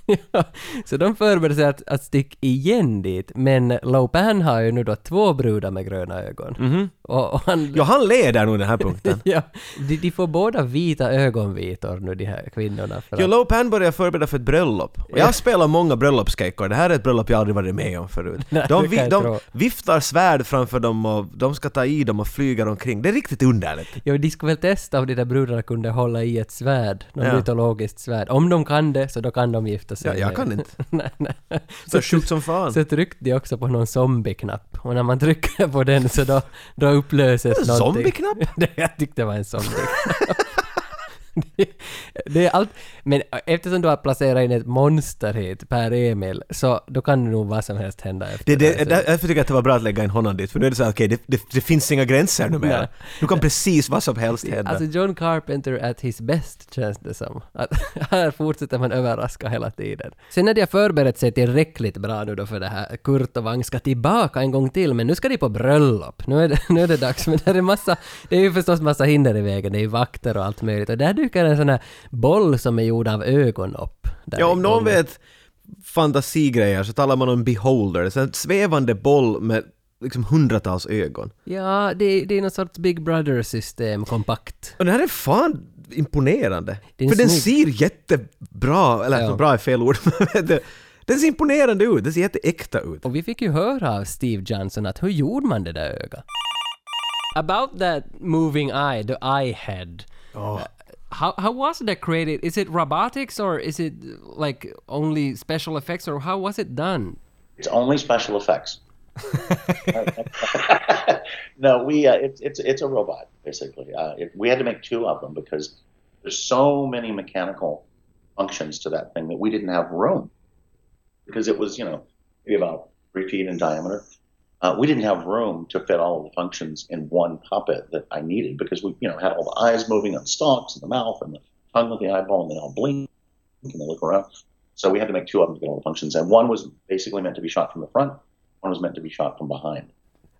Speaker 2: ja, så de förbereder sig att, att sticka igen dit, men Lopan har ju nu då två brudar med gröna ögon.
Speaker 1: Mhm.
Speaker 2: Och, och han...
Speaker 1: Ja, han leder nog den här punkten.
Speaker 2: Ja, de, de får båda vita ögonvitor nu, de här kvinnorna. För
Speaker 1: Jo,
Speaker 2: att-
Speaker 1: Lopan börjar förbereda för ett bröllop. Och jag spelar många bröllopskejkor. Det här är ett bröllop jag aldrig varit med om förut.
Speaker 2: Nej,
Speaker 1: De,
Speaker 2: det
Speaker 1: vi,
Speaker 2: kan
Speaker 1: de
Speaker 2: jag tro.
Speaker 1: viftar svärd framför dem och de ska ta i dem och flyga omkring. Det är riktigt underligt.
Speaker 2: Ja, de skulle väl testa om de där brudarna kunde hålla i ett svärd, något
Speaker 1: Ja.
Speaker 2: mytologiskt svärd. Om de kan det, så då kan de gifta sig.
Speaker 1: Ja, jag kan inte.
Speaker 2: nej, nej.
Speaker 1: Så sjukt som fan.
Speaker 2: Så tryckte de också på någon zombieknapp, och när man trycker på den så då, då upplöses
Speaker 1: En
Speaker 2: någonting.
Speaker 1: zombieknapp?
Speaker 2: det, jag tyckte det var en zombie. det är allt. Men eftersom du har placerat in ett monster hit, Per Emil, så då kan det nog vad som helst hända efter
Speaker 1: Det, det,
Speaker 2: så-
Speaker 1: därför tycker jag att det var bra att lägga in honom dit, för nu är det så här, okej, det, det, det finns inga gränser numera.
Speaker 2: Nej.
Speaker 1: Nu kan precis vad som helst hända.
Speaker 2: Alltså John Carpenter at his best känns det som. Att här fortsätter man överraska hela tiden. Sen när de har förberett sig tillräckligt bra nu då för det här, Kurt och Wang ska tillbaka en gång till, men nu ska de på bröllop. Nu är det, nu är det dags, men det är, massa, det är ju förstås massa hinder i vägen, det är ju vakter och allt möjligt. Och där dyker en sån här boll som är gjord av ögon upp. Där
Speaker 1: Ja,
Speaker 2: i
Speaker 1: om någon
Speaker 2: gången.
Speaker 1: vet fantasigrejer så talar man om beholder, så en svävande boll med liksom hundratals ögon.
Speaker 2: Ja, det, det är någon sorts Big Brother-system, kompakt.
Speaker 1: Och den här är fan imponerande.
Speaker 2: Det är
Speaker 1: För den
Speaker 2: snygg.
Speaker 1: ser jättebra, eller alltså
Speaker 2: Ja.
Speaker 1: bra är fel ord, men det- den ser imponerande ut, den ser jätteäkta ut.
Speaker 2: Och vi fick ju höra av Steve Johnson att hur gjorde man det där ögat? About that moving eye, the eye head. Uh,
Speaker 1: Oh.
Speaker 11: How, how was that created? Is it robotics or is it like only special effects or how was it done?
Speaker 9: It's only special effects. no, we uh, it's it's it's a robot basically. Uh, it, we had to make two of them because there's so many mechanical functions to that thing that we didn't have room because it was you know maybe about three feet in diameter. Uh, we didn't have room to fit all of the functions in one puppet that I needed because we you know had all the eyes moving on stalks and the mouth and the tongue with the eyeball and they all blink and they look around. So we had to make two of them to get all the functions, and one was basically meant to be shot from the front. One was meant to be shot from behind.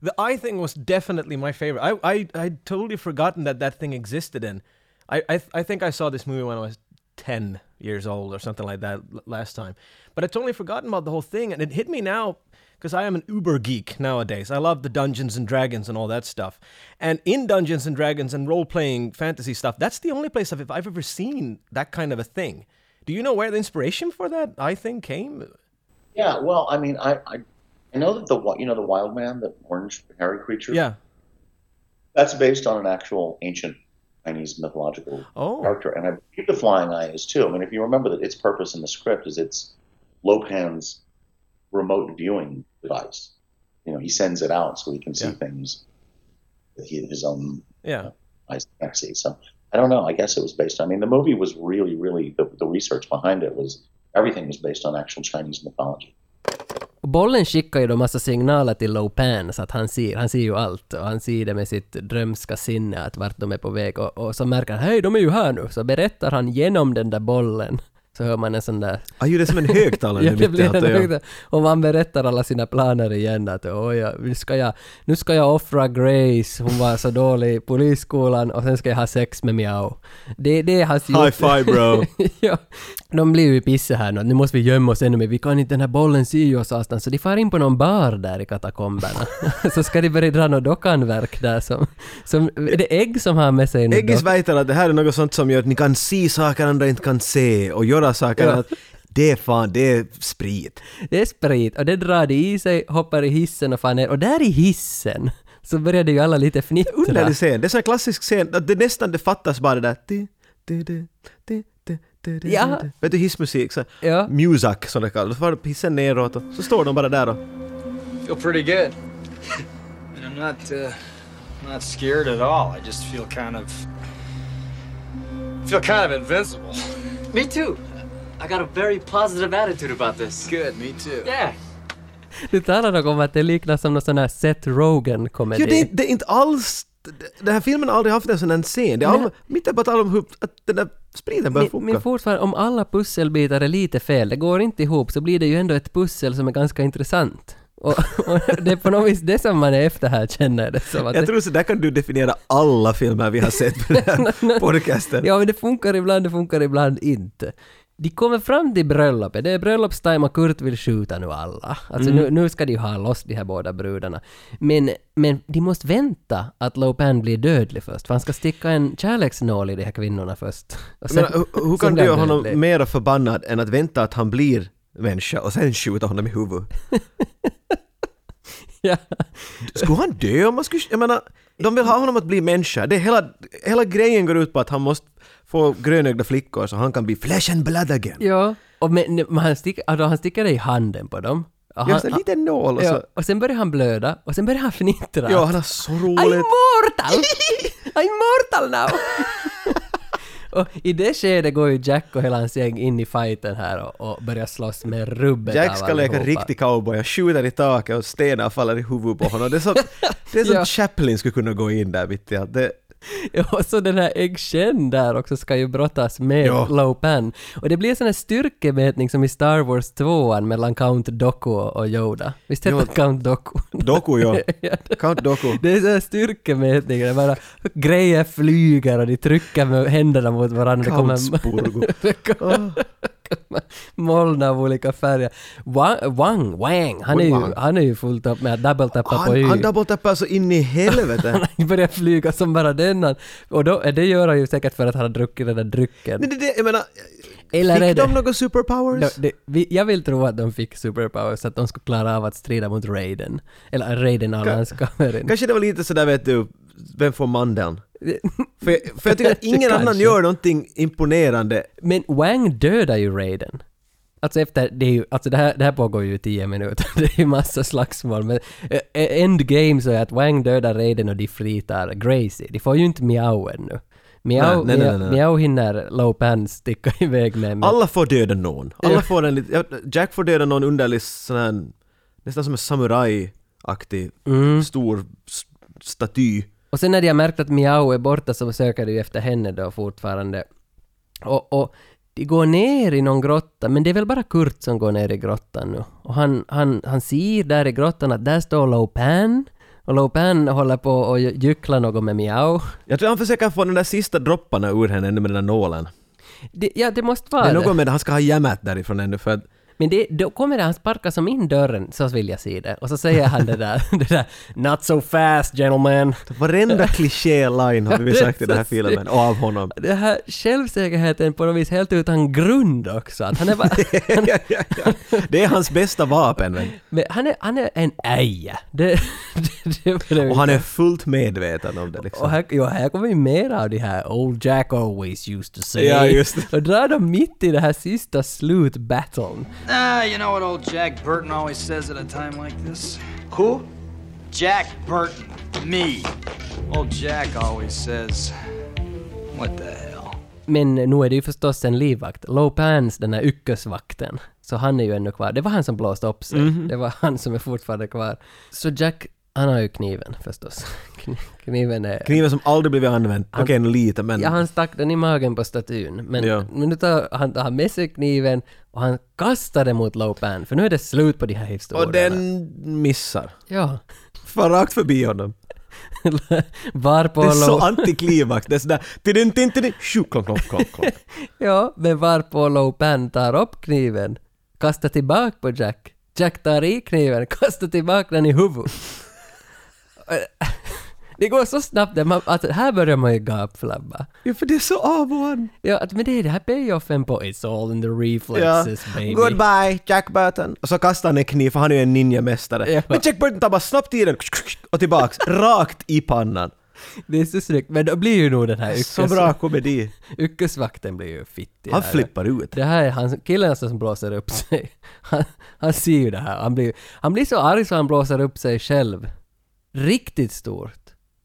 Speaker 14: The eye thing was definitely my favorite. I I I'd totally forgotten that that thing existed, and I I, I think I saw this movie when I was ten years old or something like that l- last time. But I'd totally forgotten about the whole thing, and it hit me now because I am an uber geek nowadays. I love the Dungeons and Dragons and all that stuff. And in Dungeons and Dragons and role playing fantasy stuff, that's the only place I've, I've ever seen that kind of a thing. Do you know where the inspiration for that eye thing came?
Speaker 9: Yeah, well, I mean, I, I, I know that the wi- you know the wild man, the orange hairy creature.
Speaker 14: Yeah.
Speaker 9: That's based on an actual ancient Chinese mythological character, and I believe the flying eye is too. I mean, if you remember that its purpose in the script is it's Lopan's remote viewing device. You know, he sends it out so he can see things with he- his own
Speaker 14: Yeah.
Speaker 9: eyes can't see. So I don't know. I guess it was based. on I mean, the movie was really, really the, the research behind it was everything was based on actual Chinese mythology.
Speaker 2: Och bollen skickar ju då massa signaler till Lopan så att han ser, han ser ju allt och han ser det med sitt drömska sinne att vart de är på väg och, och så märker han hej de är ju här nu så berättar han genom den där bollen så hör man en sån där...
Speaker 1: Han gjorde som en högtalare
Speaker 2: ja,
Speaker 1: mitt
Speaker 2: det
Speaker 1: i
Speaker 2: blir
Speaker 1: allt,
Speaker 2: en
Speaker 1: ja.
Speaker 2: högtalare. Och man berättar alla sina planer igen att oj, ja, nu ska jag, nu ska jag offra Grace, hon var så dålig i polisskolan och sen ska jag ha sex med Miao. Det, det är hans
Speaker 1: High five, bro.
Speaker 2: ja. De blir ju pisse här nu, nu måste vi gömma oss ännu mer, vi kan inte, den här bollen ser ju oss någonstans. Så de far in på någon bar där i katakomberna. så ska de börja dra något dockanverk där som, som, är det ägg som har med sig något
Speaker 1: Eggis väitar att det här är något sånt som gör att ni kan se saker andra inte kan se och göra saker
Speaker 2: Ja.
Speaker 1: att det är fan, det är sprit.
Speaker 2: Det är sprit och det drar de i sig, hoppar i hissen och far ner. Och där i hissen så började ju alla lite fnittra.
Speaker 1: Underlig scen, det är en klassisk scen, att det nästan det fattas bara det där "Ti, ti, ti, ti, ti, ti, ti,
Speaker 2: Ja.
Speaker 1: ti." Vet du hissmusik? Så,
Speaker 2: ja.
Speaker 1: Music som det kallas. Då far hissen neråt och så står de bara där och
Speaker 6: Feel pretty good.
Speaker 10: And I'm not, uh, not scared at all. I just feel kind of, feel kind of invincible.
Speaker 15: Me too. I got a very positive attitude about this.
Speaker 10: Good, me too.
Speaker 15: Yeah.
Speaker 2: Du talar nog om att det liknar som någon sån här Seth Rogen-komedi.
Speaker 1: Ja, det, är- det är inte alls... Den här filmen har aldrig haft en sån här scen. Det är all, mitt är bara tal om hur att den där spriten börjar
Speaker 2: Men, men
Speaker 1: funka.
Speaker 2: fortfarande, om alla pusselbitar är lite fel, det går inte ihop, så blir det ju ändå ett pussel som är ganska intressant. Och, och det är på något vis det som man är efter här, känner jag det som. Att
Speaker 1: Jag
Speaker 2: det,
Speaker 1: tror så där kan du definiera alla filmer vi har sett på den här podcasten.
Speaker 2: Ja, men det funkar ibland, det funkar ibland inte. De kommer fram till bröllopet, det är bröllopstime och Kurt vill skjuta nu alla. Alltså
Speaker 11: Mm.
Speaker 2: nu, nu ska de ju ha loss de här båda brudarna. Men, men de måste vänta att Lopan blir dödlig först, för han ska sticka en kärleksnål i de här kvinnorna först. Och
Speaker 1: Jag menar, hur, hur kan
Speaker 2: sen
Speaker 1: du
Speaker 2: blir
Speaker 1: göra
Speaker 2: han
Speaker 1: honom
Speaker 2: dödlig.
Speaker 1: mera förbannad än att vänta att han blir människa och sen skjuta honom i huvudet?
Speaker 2: ja.
Speaker 1: Skulle han dö om man skulle... Jag menar, de vill ha honom att bli människa. Det är hela, hela grejen går ut på att han måste få grönögda flickor så han kan bli flesh and blood again.
Speaker 2: Ja, och men, men han, sticker, alltså han sticker i handen på dem. Och
Speaker 1: Ja, så en liten nål och
Speaker 2: ja,
Speaker 1: så-
Speaker 2: och sen börjar han blöda och sen börjar han fnittra.
Speaker 1: Ja, han har så roligt.
Speaker 2: I'm mortal! I'm mortal now! Och i det skedet går ju Jack och hela hans gäng in i fighten här och, och börjar slåss med rubbet
Speaker 1: Jack
Speaker 2: av
Speaker 1: ska leka
Speaker 2: allihopa.
Speaker 1: riktig cowboy, han skjuter i taket och stenar faller i huvudet på honom. Det är som, det är som
Speaker 2: Ja.
Speaker 1: Chaplin skulle kunna gå in där mitt i allt. Det,
Speaker 2: Ja, och så den här äggkänn där också ska ju brottas med
Speaker 1: Ja.
Speaker 2: Lo Pan. Och det blir en sån här styrkemätning som i Star Wars 2 mellan Count Doku och Yoda. Visst
Speaker 1: Jo.
Speaker 2: heter han Count Doku?
Speaker 1: Doku, ja. Count Doku.
Speaker 2: Det är sån här styrkemätning, det är bara grejer flyger och de trycker med händerna mot varandra. Det kommer-
Speaker 1: Countspurgo.
Speaker 2: Det kommer- moln av olika färger. Wang, Wang, Wang han, är ju,
Speaker 1: Wang.
Speaker 2: han är ju fullt upp med att double-tappa på
Speaker 1: han,
Speaker 2: Y.
Speaker 1: han double-tappar så in i helvete.
Speaker 2: Han börjar flyga som bara denna. Och då, det gör han ju säkert för att han har druckit den där drycken.
Speaker 1: Nej, det, det, jag menar,
Speaker 2: Eller
Speaker 1: fick
Speaker 2: är det-
Speaker 1: de några superpowers?
Speaker 2: De- de- vi, jag vill tro att de fick superpowers, att de skulle klara av att strida mot Raiden. Eller Raiden och alla hans kamerin.
Speaker 1: Kanske det var lite sådär vet du, vem får mandeln? För jag, för jag tycker att ingen
Speaker 2: Kanske.
Speaker 1: annan gör någonting imponerande.
Speaker 2: Men Wang dödar ju Raiden. Alltså efter, det är ju, alltså det här, det här pågår ju i tio minuter, det är ju massa slagsmål men eh, endgame så är att Wang dödar Raiden och de fritar Gracie. De får ju inte Miao ännu. Miao,
Speaker 1: Nej, nej, nej, nej, nej.
Speaker 2: Miao hinner Lo Pan sticka iväg med. men-
Speaker 1: Alla får döda någon. Alla
Speaker 2: Ja.
Speaker 1: får en lite, ja, Jack får döda någon underlig sån här, nästan som en samurajaktig
Speaker 2: Mm.
Speaker 1: stor s- staty.
Speaker 2: Och sen när de har märkt att Miao är borta så söker de ju efter henne då fortfarande. Och, och de går ner i någon grotta, men det är väl bara Kurt som går ner i grottan nu. Och han, han, han ser där i grottan att där står Lo Pan. Och Lo Pan håller på och gy- gycklar något med Miao.
Speaker 1: Jag tror han försöker få den där sista dropparna ur henne ännu med den där nålen.
Speaker 2: Det, ja, det måste
Speaker 1: Det
Speaker 2: vara
Speaker 1: är
Speaker 2: det.
Speaker 1: något med det, han ska ha jämmat därifrån ännu för att
Speaker 2: Men det, då kommer det, han sparkar som in dörren, så vill jag se det. Och så säger han det där, det där ”Not so fast gentlemen”.
Speaker 1: varenda kliché-line har vi sagt i den här filmen och av honom.
Speaker 2: det här självsäkerheten på något vis helt utan grund också. Att han, är bara,
Speaker 1: Det är hans bästa vapen. Men.
Speaker 2: men han, är, han är en äja. Det, det, det, det
Speaker 1: Och han är fullt medveten om det
Speaker 2: och
Speaker 1: liksom.
Speaker 2: här, ja, här kommer ju mer av det här Old Jack always used to say.
Speaker 1: Ja, just det.
Speaker 2: Och drar de mitt i det här sista slutbattlen.
Speaker 10: Ah, you know what old Jack Burton always says at a time like this? Who? Jack Burton. Me. Old Jack always says, What the hell?
Speaker 2: Men nu är det ju förstås en livvakt. Low Pans, den här yrkesvakten. Så han är ju ännu kvar. Det var han som blåste upp sig.
Speaker 11: Mhm.
Speaker 2: Det var han som är fortfarande kvar. Så Jack, han har ju kniven förstås. Kni- Kniven är...
Speaker 1: Kniven som aldrig blivit använd. Okej,
Speaker 2: Han-
Speaker 1: okay, lite men...
Speaker 2: Ja, han stack den i magen på statyn. Men,
Speaker 1: Mm. Ja.
Speaker 2: men nu tar han, tar han med sig kniven och han kastar den mot Low Pan, för nu är det slut på de här historierna.
Speaker 1: Och den missar.
Speaker 2: Ja.
Speaker 1: Far rakt förbi honom.
Speaker 2: Varpå
Speaker 1: Det är så
Speaker 2: Low-
Speaker 1: antiklimax. Det är sådär... tidin, tin, tidin, tjo, klonk, klonk, klonk, klonk.
Speaker 2: Ja, men varpå Low Pan tar upp kniven, kastar tillbaka på Jack. Jack tar i kniven, kastar tillbaka den i huvudet. Det går så snabbt, där man, alltså, här börjar man ju gapflabba.
Speaker 1: Ja, för det är så av och an.
Speaker 2: Ja, att- men det är det här payoffen på It's all in the
Speaker 1: Ja.
Speaker 2: reflexes baby.
Speaker 1: Goodbye, Jack Burton. Och så kastar han en kniv, för han är ju en ninjamästare.
Speaker 2: Ja.
Speaker 1: Men Jack Burton tar bara snabbt i den och tillbaks, rakt i pannan.
Speaker 2: Det är så snyggt, men då blir ju nog den här yrkes...
Speaker 1: Så bra komedi.
Speaker 2: Yrkesvakten blir ju fittig.
Speaker 1: Han
Speaker 2: här.
Speaker 1: flippar ut.
Speaker 2: Det här är han, killen som blåser upp sig. Han, han ser ju det här. Han blir, han blir så arg så han blåser upp sig själv. Riktigt stort.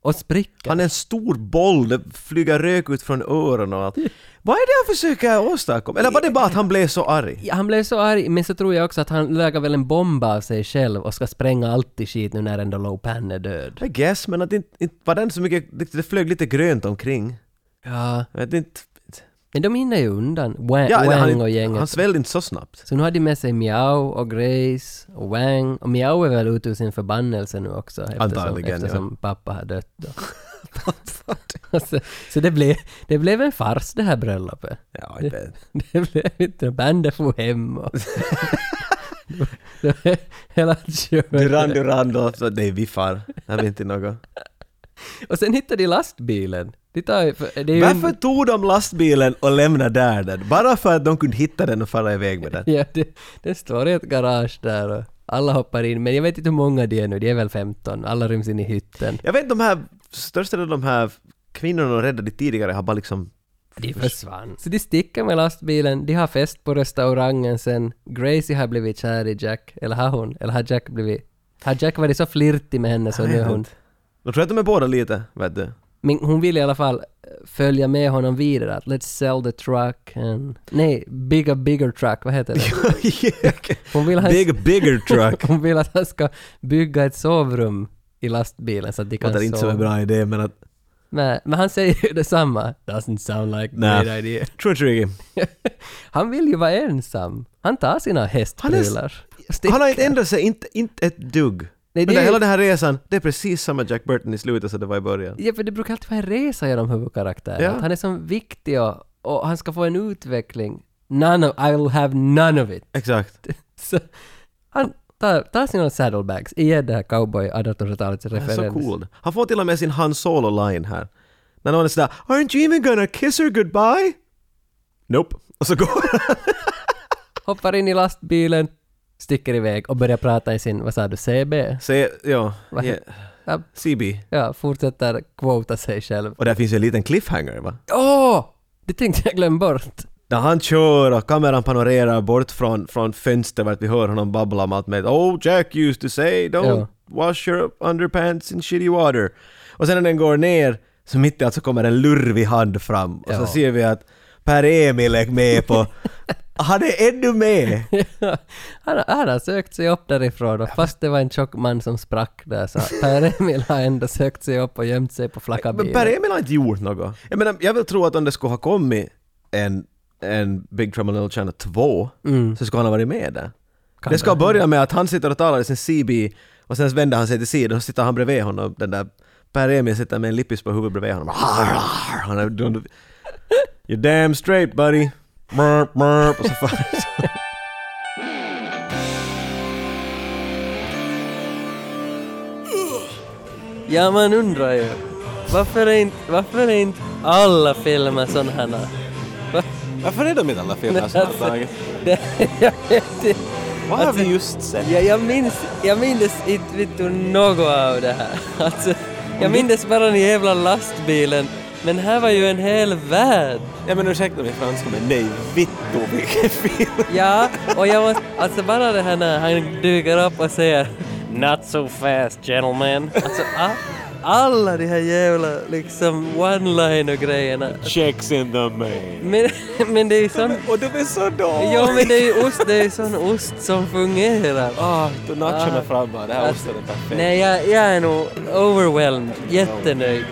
Speaker 2: Och spricker.
Speaker 1: Han är en stor boll, det flyger rök ut från öronen och allt. Vad är det han försöker åstadkomma? Eller var det bara att han blev så arg?
Speaker 2: Han blev så arg, men så tror jag också att han lägger väl en bomb av sig själv och ska spränga allt i skit nu när ändå Low Pan är död.
Speaker 1: I guess, men att inte, inte var den så mycket, det, det flög lite grönt omkring.
Speaker 2: Ja.
Speaker 1: Jag vet inte.
Speaker 2: Men de hinner ju undan. Wang,
Speaker 1: Ja,
Speaker 2: Wang
Speaker 1: han,
Speaker 2: och gänget.
Speaker 1: han svällde inte så snabbt.
Speaker 2: Så nu har de med sig Miao och Grace och Wang. Och Miao är väl ute ur sin förbannelse nu också eftersom,
Speaker 1: Antagligen, ja.
Speaker 2: eftersom pappa har dött. Då. så så det, blev, det blev en fars det här bröllopet.
Speaker 1: Ja, jag
Speaker 2: det,
Speaker 1: vet.
Speaker 2: det blev inte... Bandet for hem och... det var Hela köret.
Speaker 1: Duran Duran då, så det är vi far. Jag vet inte något.
Speaker 2: Och sen hittade de lastbilen. De tar, ju- för det är ju en-
Speaker 1: Varför tog de lastbilen och lämnade där den? Bara för att de kunde hitta den och fara iväg med den?
Speaker 2: Ja, det, det står i ett garage där och alla hoppar in. Men jag vet inte hur många de är nu, de är väl 15. Alla ryms in i hytten.
Speaker 1: Jag vet de här, största delen av de här kvinnorna de räddade tidigare har bara liksom...
Speaker 2: De försvann. Så de sticker med lastbilen, de har fest på restaurangen sen. Gracie har blivit kär i Jack. Eller har hon? Eller har Jack blivit... Har Jack varit så flirtig med henne så
Speaker 1: Jag
Speaker 2: nu är
Speaker 1: vet
Speaker 2: hon...
Speaker 1: inte. Jag tror att de är båda lite, vet du.
Speaker 2: Men hon vill i alla fall eh, följa med honom vidare. Att let's sell the truck and... Nej, big a bigger truck, vad heter det? hon vill
Speaker 1: Big bigger truck.
Speaker 2: hon vill att han ska bygga ett sovrum i lastbilen så att de kan
Speaker 1: Låter
Speaker 2: sova.
Speaker 1: inte som en bra idé men att...
Speaker 2: Men, men han säger ju detsamma. Doesn't sound like a
Speaker 1: Nej.
Speaker 2: great idea.
Speaker 1: Tror inte det.
Speaker 2: Han vill ju vara ensam. Han tar sina
Speaker 1: Han, är,
Speaker 2: hästprylar.
Speaker 1: han har inte ändrat sig, inte, inte ett dugg.
Speaker 2: Nej,
Speaker 1: men
Speaker 2: det
Speaker 1: det,
Speaker 2: är-
Speaker 1: hela den här resan, det är precis samma Jack Burton i slutet som det var i början.
Speaker 2: Ja, för det brukar alltid vara en resa genom huvudkaraktären.
Speaker 1: Ja.
Speaker 2: Att Han är så viktig och, och han ska få en utveckling. None of, I'll have none of it.
Speaker 1: Exakt.
Speaker 2: så, han tar, tar sina saddlebags, igen det här cowboy 1800-talets
Speaker 1: Han är
Speaker 2: referens.
Speaker 1: så cool. Han får till och med sin Han Solo-line här. När någon är sådär “Aren't you even gonna kiss her goodbye?” Nope. Och så går
Speaker 2: Hoppar in i lastbilen, sticker iväg och börjar prata i sin, vad sa du, CB?
Speaker 1: Se, ja,
Speaker 2: Vad
Speaker 1: ja.
Speaker 2: heter- ja,
Speaker 1: CB.
Speaker 2: ja, fortsätter quota sig själv.
Speaker 1: Och där finns ju en liten cliffhanger va?
Speaker 2: Åh! det tänkte jag glömma bort.
Speaker 1: När han kör och kameran panorerar bort från, från fönstret, vi hör honom babbla om allt med “Oh, Jack used to say don't
Speaker 2: Ja.
Speaker 1: wash your underpants in shitty water”. Och sen när den går ner, så mitt i allt så kommer en lurvig hand fram och så
Speaker 2: Ja.
Speaker 1: ser vi att Per-Emil är med på... han är ännu med!
Speaker 2: han, har- han har sökt sig upp därifrån och fast det var en tjock man som sprack där så Per-Emil har ändå sökt sig upp och gömt sig på flacka
Speaker 1: Men Per
Speaker 2: bilen.
Speaker 1: Emil har inte gjort något. Jag menar, jag vill tro att om det skulle ha kommit en, en Big Trouble in Little China 2
Speaker 2: Mm.
Speaker 1: så skulle han ha varit med där.
Speaker 2: Kan
Speaker 1: det ska
Speaker 2: det.
Speaker 1: börja med att han sitter och talar i sin CB och sen vänder han sig till sidan och så sitter han bredvid honom, den där Per Emil sitter med en lippis på huvudet bredvid honom. Han är, You're damn straight buddy. Burp, burp, och så far-
Speaker 2: Ja, man undrar ju. Varför är inte, varför är inte alla filmer sådana här? Va?
Speaker 1: Varför är de inte alla filmer
Speaker 2: sådana här? Det- jag vet inte.
Speaker 1: Vad har vi just sett?
Speaker 2: Ja, jag minns, jag minns inte vet du, något av det här. Alltså, jag minns bara den jävla lastbilen. Men här var ju en hel värld.
Speaker 1: Ja men ursäkta mig franska men nej, vittu vilken film.
Speaker 2: Ja, och jag måste, alltså bara det här när han dyker upp och säger Not so fast gentlemen. Alltså a- alla de här jävla liksom one-liner grejerna.
Speaker 16: Checks in the mail.
Speaker 2: Men, men det är ju sån...
Speaker 1: Och de är så dåliga!
Speaker 2: Ja men det är ju ost, det är ju sån ost som fungerar.
Speaker 1: Ah, då
Speaker 2: nacho
Speaker 1: nachen är
Speaker 2: med
Speaker 1: fram bara. Det här osten är perfekt.
Speaker 2: Alltså, Nej, jag, jag är nog overwhelmed. Jättenöjd.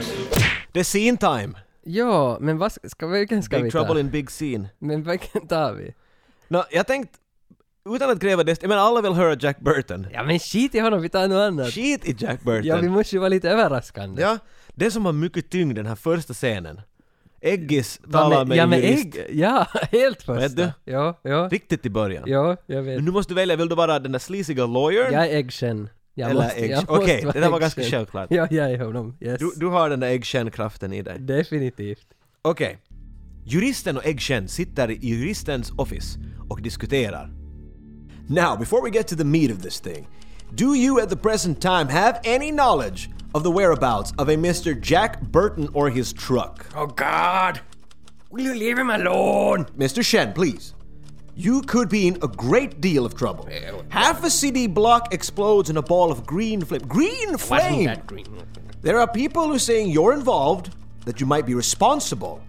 Speaker 1: Det är scene time!
Speaker 2: Ja, men vad ska, ska, vilken ska
Speaker 1: Big
Speaker 2: vi ta?
Speaker 1: Trouble in Big Scene.
Speaker 2: Men vilken tar vi?
Speaker 1: Nå, jag tänkte, utan att gräva det, jag menar alla vill höra Jack Burton.
Speaker 2: Ja men skit i honom, vi tar något annat.
Speaker 1: Skit i Jack Burton.
Speaker 2: Ja, vi måste ju vara lite överraskande.
Speaker 1: Ja, det som har mycket tyngd den här första scenen. Eggis
Speaker 2: Va,
Speaker 1: talar
Speaker 2: men-
Speaker 1: med
Speaker 2: ja,
Speaker 1: en
Speaker 2: men
Speaker 1: jurist.
Speaker 2: ägg, ja, helt första.
Speaker 1: Vet du?
Speaker 2: Ja, ja.
Speaker 1: Riktigt i början.
Speaker 2: Ja, jag vet.
Speaker 1: Men nu måste du välja, vill du vara den där sleaziga lawyern?
Speaker 2: Jag är äggkänn. Jag
Speaker 1: Eller
Speaker 2: måste- jag
Speaker 1: äggkänn.
Speaker 2: måste
Speaker 1: Okej,
Speaker 2: vara
Speaker 1: det där var ganska
Speaker 2: äggkänn.
Speaker 1: självklart.
Speaker 2: Ja, jag är honom. Yes.
Speaker 1: Du, du har den där äggkänn-kraften i dig.
Speaker 2: Definitivt.
Speaker 1: Okej. Juristen och äggkänn sitter i juristens office och diskuterar.
Speaker 16: Now, before we get to the meat of this thing, do you at the present time have any knowledge of the whereabouts of a Mr. Jack Burton or his truck? Oh, God! Will you leave him alone? Mr. Shen, please. You could be in a great deal of trouble. Half a CD block explodes in a ball of green flame. Green flame! There are people who are saying you're involved, that you might be responsible,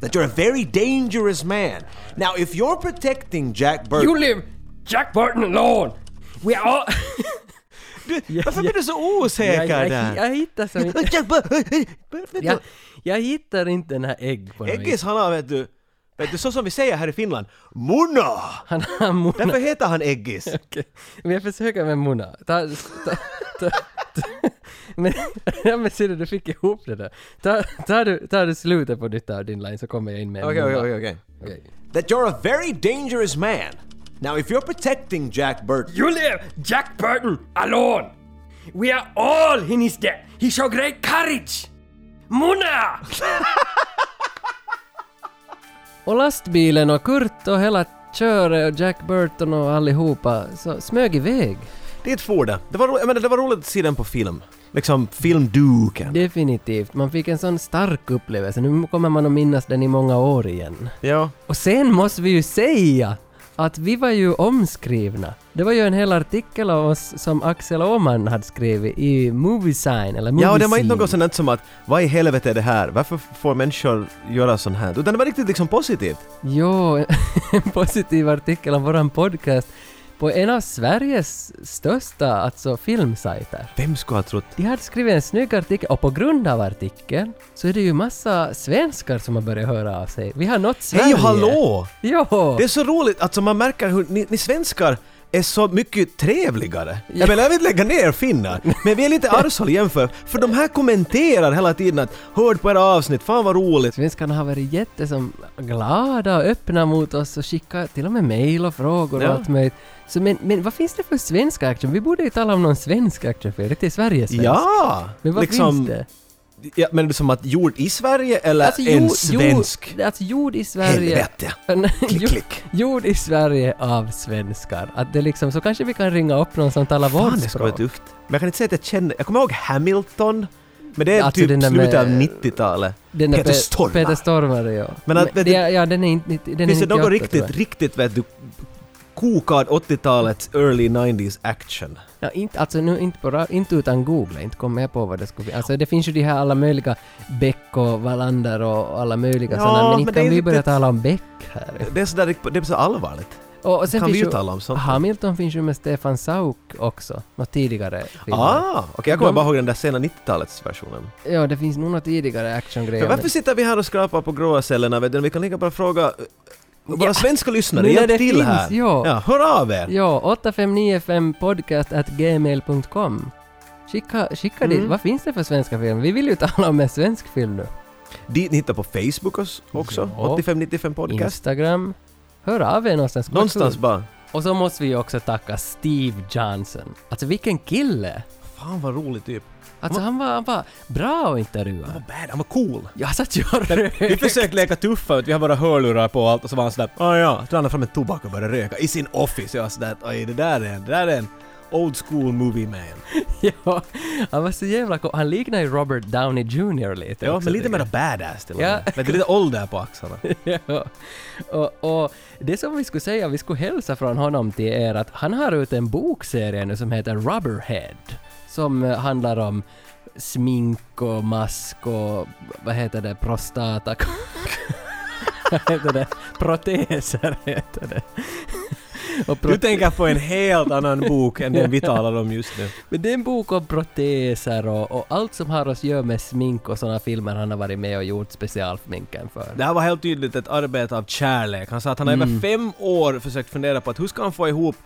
Speaker 16: that you're a very dangerous man. Now, if you're protecting Jack Burton.
Speaker 17: You leave Jack Burton alone. We are all...
Speaker 1: Varför blir du så osäker
Speaker 2: jag, jag,
Speaker 1: där?
Speaker 2: Jag, hittar som inte... jag, jag hittar inte den här ägg på något
Speaker 1: Eggis
Speaker 2: vis.
Speaker 1: han har vet du, vet du så som vi säger här i Finland, Munna!
Speaker 2: Han har Munna.
Speaker 1: Därför heter han Eggis.
Speaker 2: Okej. Men jag försöker med Mona. Ta, ta, ta, ta. Men, ja, men ser du, du fick ihop det där. Ta, tar, du, tar du slutet på ditt av din line så kommer jag in med en
Speaker 16: Okej,
Speaker 2: Mona.
Speaker 16: okej, okej, That you're a very dangerous man. Now, if you're protecting Jack Burton.
Speaker 17: You leave Jack Burton alone. We are all in his debt. He show great courage. Muna!
Speaker 2: Och lastbilen och Kurt och hela köret och Jack Burton och allihopa så smög iväg.
Speaker 1: Dit for det. Det var, ro- jag menar, det var roligt att se den på film. Liksom filmduken.
Speaker 2: Definitivt. Man fick en sån stark upplevelse. Nu kommer man att minnas den i många år igen.
Speaker 1: Ja.
Speaker 2: Och sen måste vi ju säga att vi var ju omskrivna. Det var ju en hel artikel av oss som Axel Åman hade skrivit i Movie Sign eller Movie
Speaker 4: Ja, och det var inte
Speaker 2: Scene.
Speaker 4: något sånt som att vad i helvete är det här? Varför får människor göra sånt här? Utan det var riktigt liksom positivt.
Speaker 2: Jo, en positiv artikel om våran podcast på en av Sveriges största alltså filmsajter.
Speaker 4: Vem skulle ha trott?
Speaker 2: De hade skrivit en snygg artikel och på grund av artikeln så är det ju massa svenskar som har börjat höra av sig. Vi har nått Sverige.
Speaker 4: Hej och hallå!
Speaker 2: Jo!
Speaker 4: Det är så roligt, alltså man märker hur ni, ni svenskar är så mycket trevligare. Jag menar, jag vill inte lägga ner finnar, men vi är lite arvshåll jämfört, för de här kommenterar hela tiden att ”hörd på era avsnitt, fan vad roligt”.
Speaker 2: Svenskarna har varit jätte som glada och öppna mot oss och skicka till och med mejl och frågor
Speaker 4: Ja.
Speaker 2: och allt möjligt. Så men, men vad finns det för svensk action? Vi borde ju tala om någon svensk actionfilm. Det är Sveriges svensk.
Speaker 4: Ja!
Speaker 2: Men vad
Speaker 4: liksom,
Speaker 2: finns det? Alltså,
Speaker 4: Ja, men det är som att gjord i Sverige eller en svensk?
Speaker 2: Jord, alltså jord i Sverige.
Speaker 4: Helvete.
Speaker 2: klick, klick. Jord i Sverige av svenskar. Att det liksom, så kanske vi kan ringa upp någon som talar vårt
Speaker 4: Fan, det skulle vara
Speaker 2: språk.
Speaker 4: tufft. Men jag kan inte säga att jag känner... Jag kommer ihåg Hamilton, men det är
Speaker 2: Alltså den
Speaker 4: typ
Speaker 2: där
Speaker 4: slutet
Speaker 2: med-
Speaker 4: av 90-talet.
Speaker 2: Den där
Speaker 4: Peter
Speaker 2: Pe-
Speaker 4: Stormare.
Speaker 2: Peter Stormare, ja.
Speaker 4: Men att- vet du-
Speaker 2: ja, ja, den är inte... Den är
Speaker 4: Finns det
Speaker 2: 98,
Speaker 4: något
Speaker 2: tror
Speaker 4: riktigt,
Speaker 2: jag.
Speaker 4: riktigt vet du, kokad 80-talets early 90s action?
Speaker 2: Ja, inte, alltså nu inte, på, ra- inte utan googla, inte kommer jag på vad det skulle bli. Alltså det finns ju de här alla möjliga Beck och Wallander och alla möjliga
Speaker 4: Ja,
Speaker 2: sådana, men
Speaker 4: men
Speaker 2: inte
Speaker 4: det är
Speaker 2: kan vi
Speaker 4: riktigt-
Speaker 2: börja tala om Beck här.
Speaker 4: Det är så, där, det är så allvarligt.
Speaker 2: Och, och sen
Speaker 4: kan
Speaker 2: finns
Speaker 4: vi ju
Speaker 2: ju,
Speaker 4: tala om sånt.
Speaker 2: Hamilton finns ju med Stefan Sauk också, något tidigare. filmer.
Speaker 4: Ah, okej, jag kommer
Speaker 2: De-
Speaker 4: bara ihåg den där sena 90-talets versionen.
Speaker 2: Ja, det finns nog något tidigare actiongrejer.
Speaker 4: Men varför sitter vi här och skrapar på gråa cellerna? Vet du? Vi kan lika bra fråga eh, våra svenska lyssnare,
Speaker 2: Nu när
Speaker 4: hjälp
Speaker 2: det
Speaker 4: till
Speaker 2: finns,
Speaker 4: här!
Speaker 2: ja.
Speaker 4: hör av er!
Speaker 2: Ja, 8595 podcastgmail.com Skicka, skicka dit,
Speaker 4: Mm.
Speaker 2: vad finns det för svenska filmer? Vi vill ju tala om en svensk film nu.
Speaker 4: Dit ni hittar på Facebook oss också,
Speaker 2: Ja.
Speaker 4: 8595 podcast.
Speaker 2: Instagram. Hör av er någonstans. Vad
Speaker 4: Någonstans
Speaker 2: kul.
Speaker 4: bara.
Speaker 2: Och så måste vi ju också tacka Steve Johnson. Alltså vilken kille!
Speaker 4: Fan vad rolig typ.
Speaker 2: Alltså han var, han var bra att intervjua. Han var
Speaker 4: bad, han var cool.
Speaker 2: Jag satt ju och
Speaker 1: Vi
Speaker 2: rökte.
Speaker 1: försökte leka tuffa, vet, vi har våra hörlurar på och allt och så var han sådär ah, ja, så han fram en tobak och började röka i sin office. Jag var sådär oj det där är en, det där är en old school movie man.
Speaker 2: ja, han var så jävla cool. Han liknar ju Robert Downey Jr lite
Speaker 1: Ja,
Speaker 2: också,
Speaker 1: men lite
Speaker 2: tycker
Speaker 1: mera
Speaker 2: jag.
Speaker 1: badass till och
Speaker 2: Ja.
Speaker 1: med. Vet du, lite ålder på axlarna.
Speaker 2: ja. och, och det som vi skulle säga, vi skulle hälsa från honom till er att han har ut en bokserie nu som heter Rubberhead. Som eh, handlar om smink och mask och vad heter det, prostata... vad heter det? Proteser heter det. Och
Speaker 1: Du tänker på en helt annan bok än den vi talar om just nu.
Speaker 2: men det är en bok om proteser och, och allt som har att göra med smink och sådana filmer han har varit med och gjort specialsminken för.
Speaker 1: Det här var helt tydligt ett arbete av kärlek. Han sa att han har
Speaker 2: Mm.
Speaker 1: över fem år försökt fundera på att hur ska han få ihop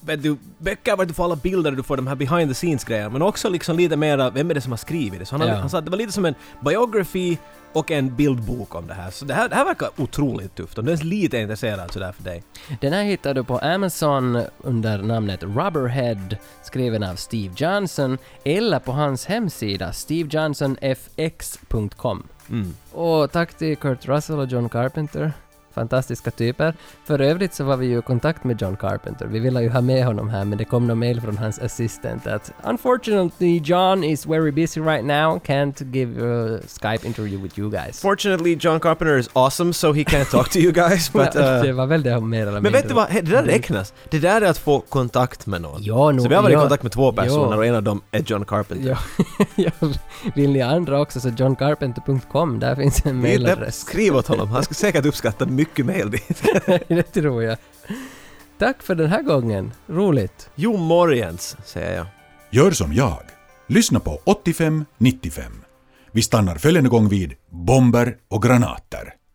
Speaker 1: vet du, böcker var du får alla bilder och du får de här behind the scenes grejerna men också liksom lite mera vem är det som har skrivit det? Så han, har-
Speaker 2: Ja.
Speaker 1: han sa att det var lite som en biography och en bildbok om det här. Så det här, det här verkar otroligt tufft. Om du ens lite är intresserad sådär för dig.
Speaker 2: Den här hittar du på Amazon under namnet Rubberhead, skriven av Steve Johnson, eller på hans hemsida stevejohnsonfx.com.
Speaker 4: Mm.
Speaker 2: Och tack till Kurt Russell och John Carpenter. Fantastiska typer. För övrigt så var vi ju i kontakt med John Carpenter. Vi ville ju ha med honom här men det kom någon mail från hans assistent att “Unfortunately John is very busy right now, can't give a Skype interview with you guys”.
Speaker 4: Fortunately, John Carpenter is awesome so he can't talk to you guys but...
Speaker 2: Ja, det
Speaker 4: Uh,
Speaker 2: var väl det mer eller mindre.
Speaker 4: men vet du vad, Hey, det där
Speaker 1: Mm.
Speaker 4: räknas. Det där är att få kontakt med någon.
Speaker 2: Ja, nog-
Speaker 4: så vi har varit i
Speaker 2: ja.
Speaker 4: kontakt med två personer
Speaker 2: Ja.
Speaker 4: och en av dem är John Carpenter.
Speaker 2: Ja, ja, vill ni andra också så johncarpenter.com, där finns en
Speaker 4: Vi- där-
Speaker 2: mailadress.
Speaker 4: Skriv åt honom, han skulle säkert uppskatta mycket mail dit.
Speaker 2: det tror jag. Tack för den här gången, roligt.
Speaker 4: Jo morgens, säger jag.
Speaker 18: Gör som jag. Lyssna på 85-95. Vi stannar följande gång vid bomber och granater.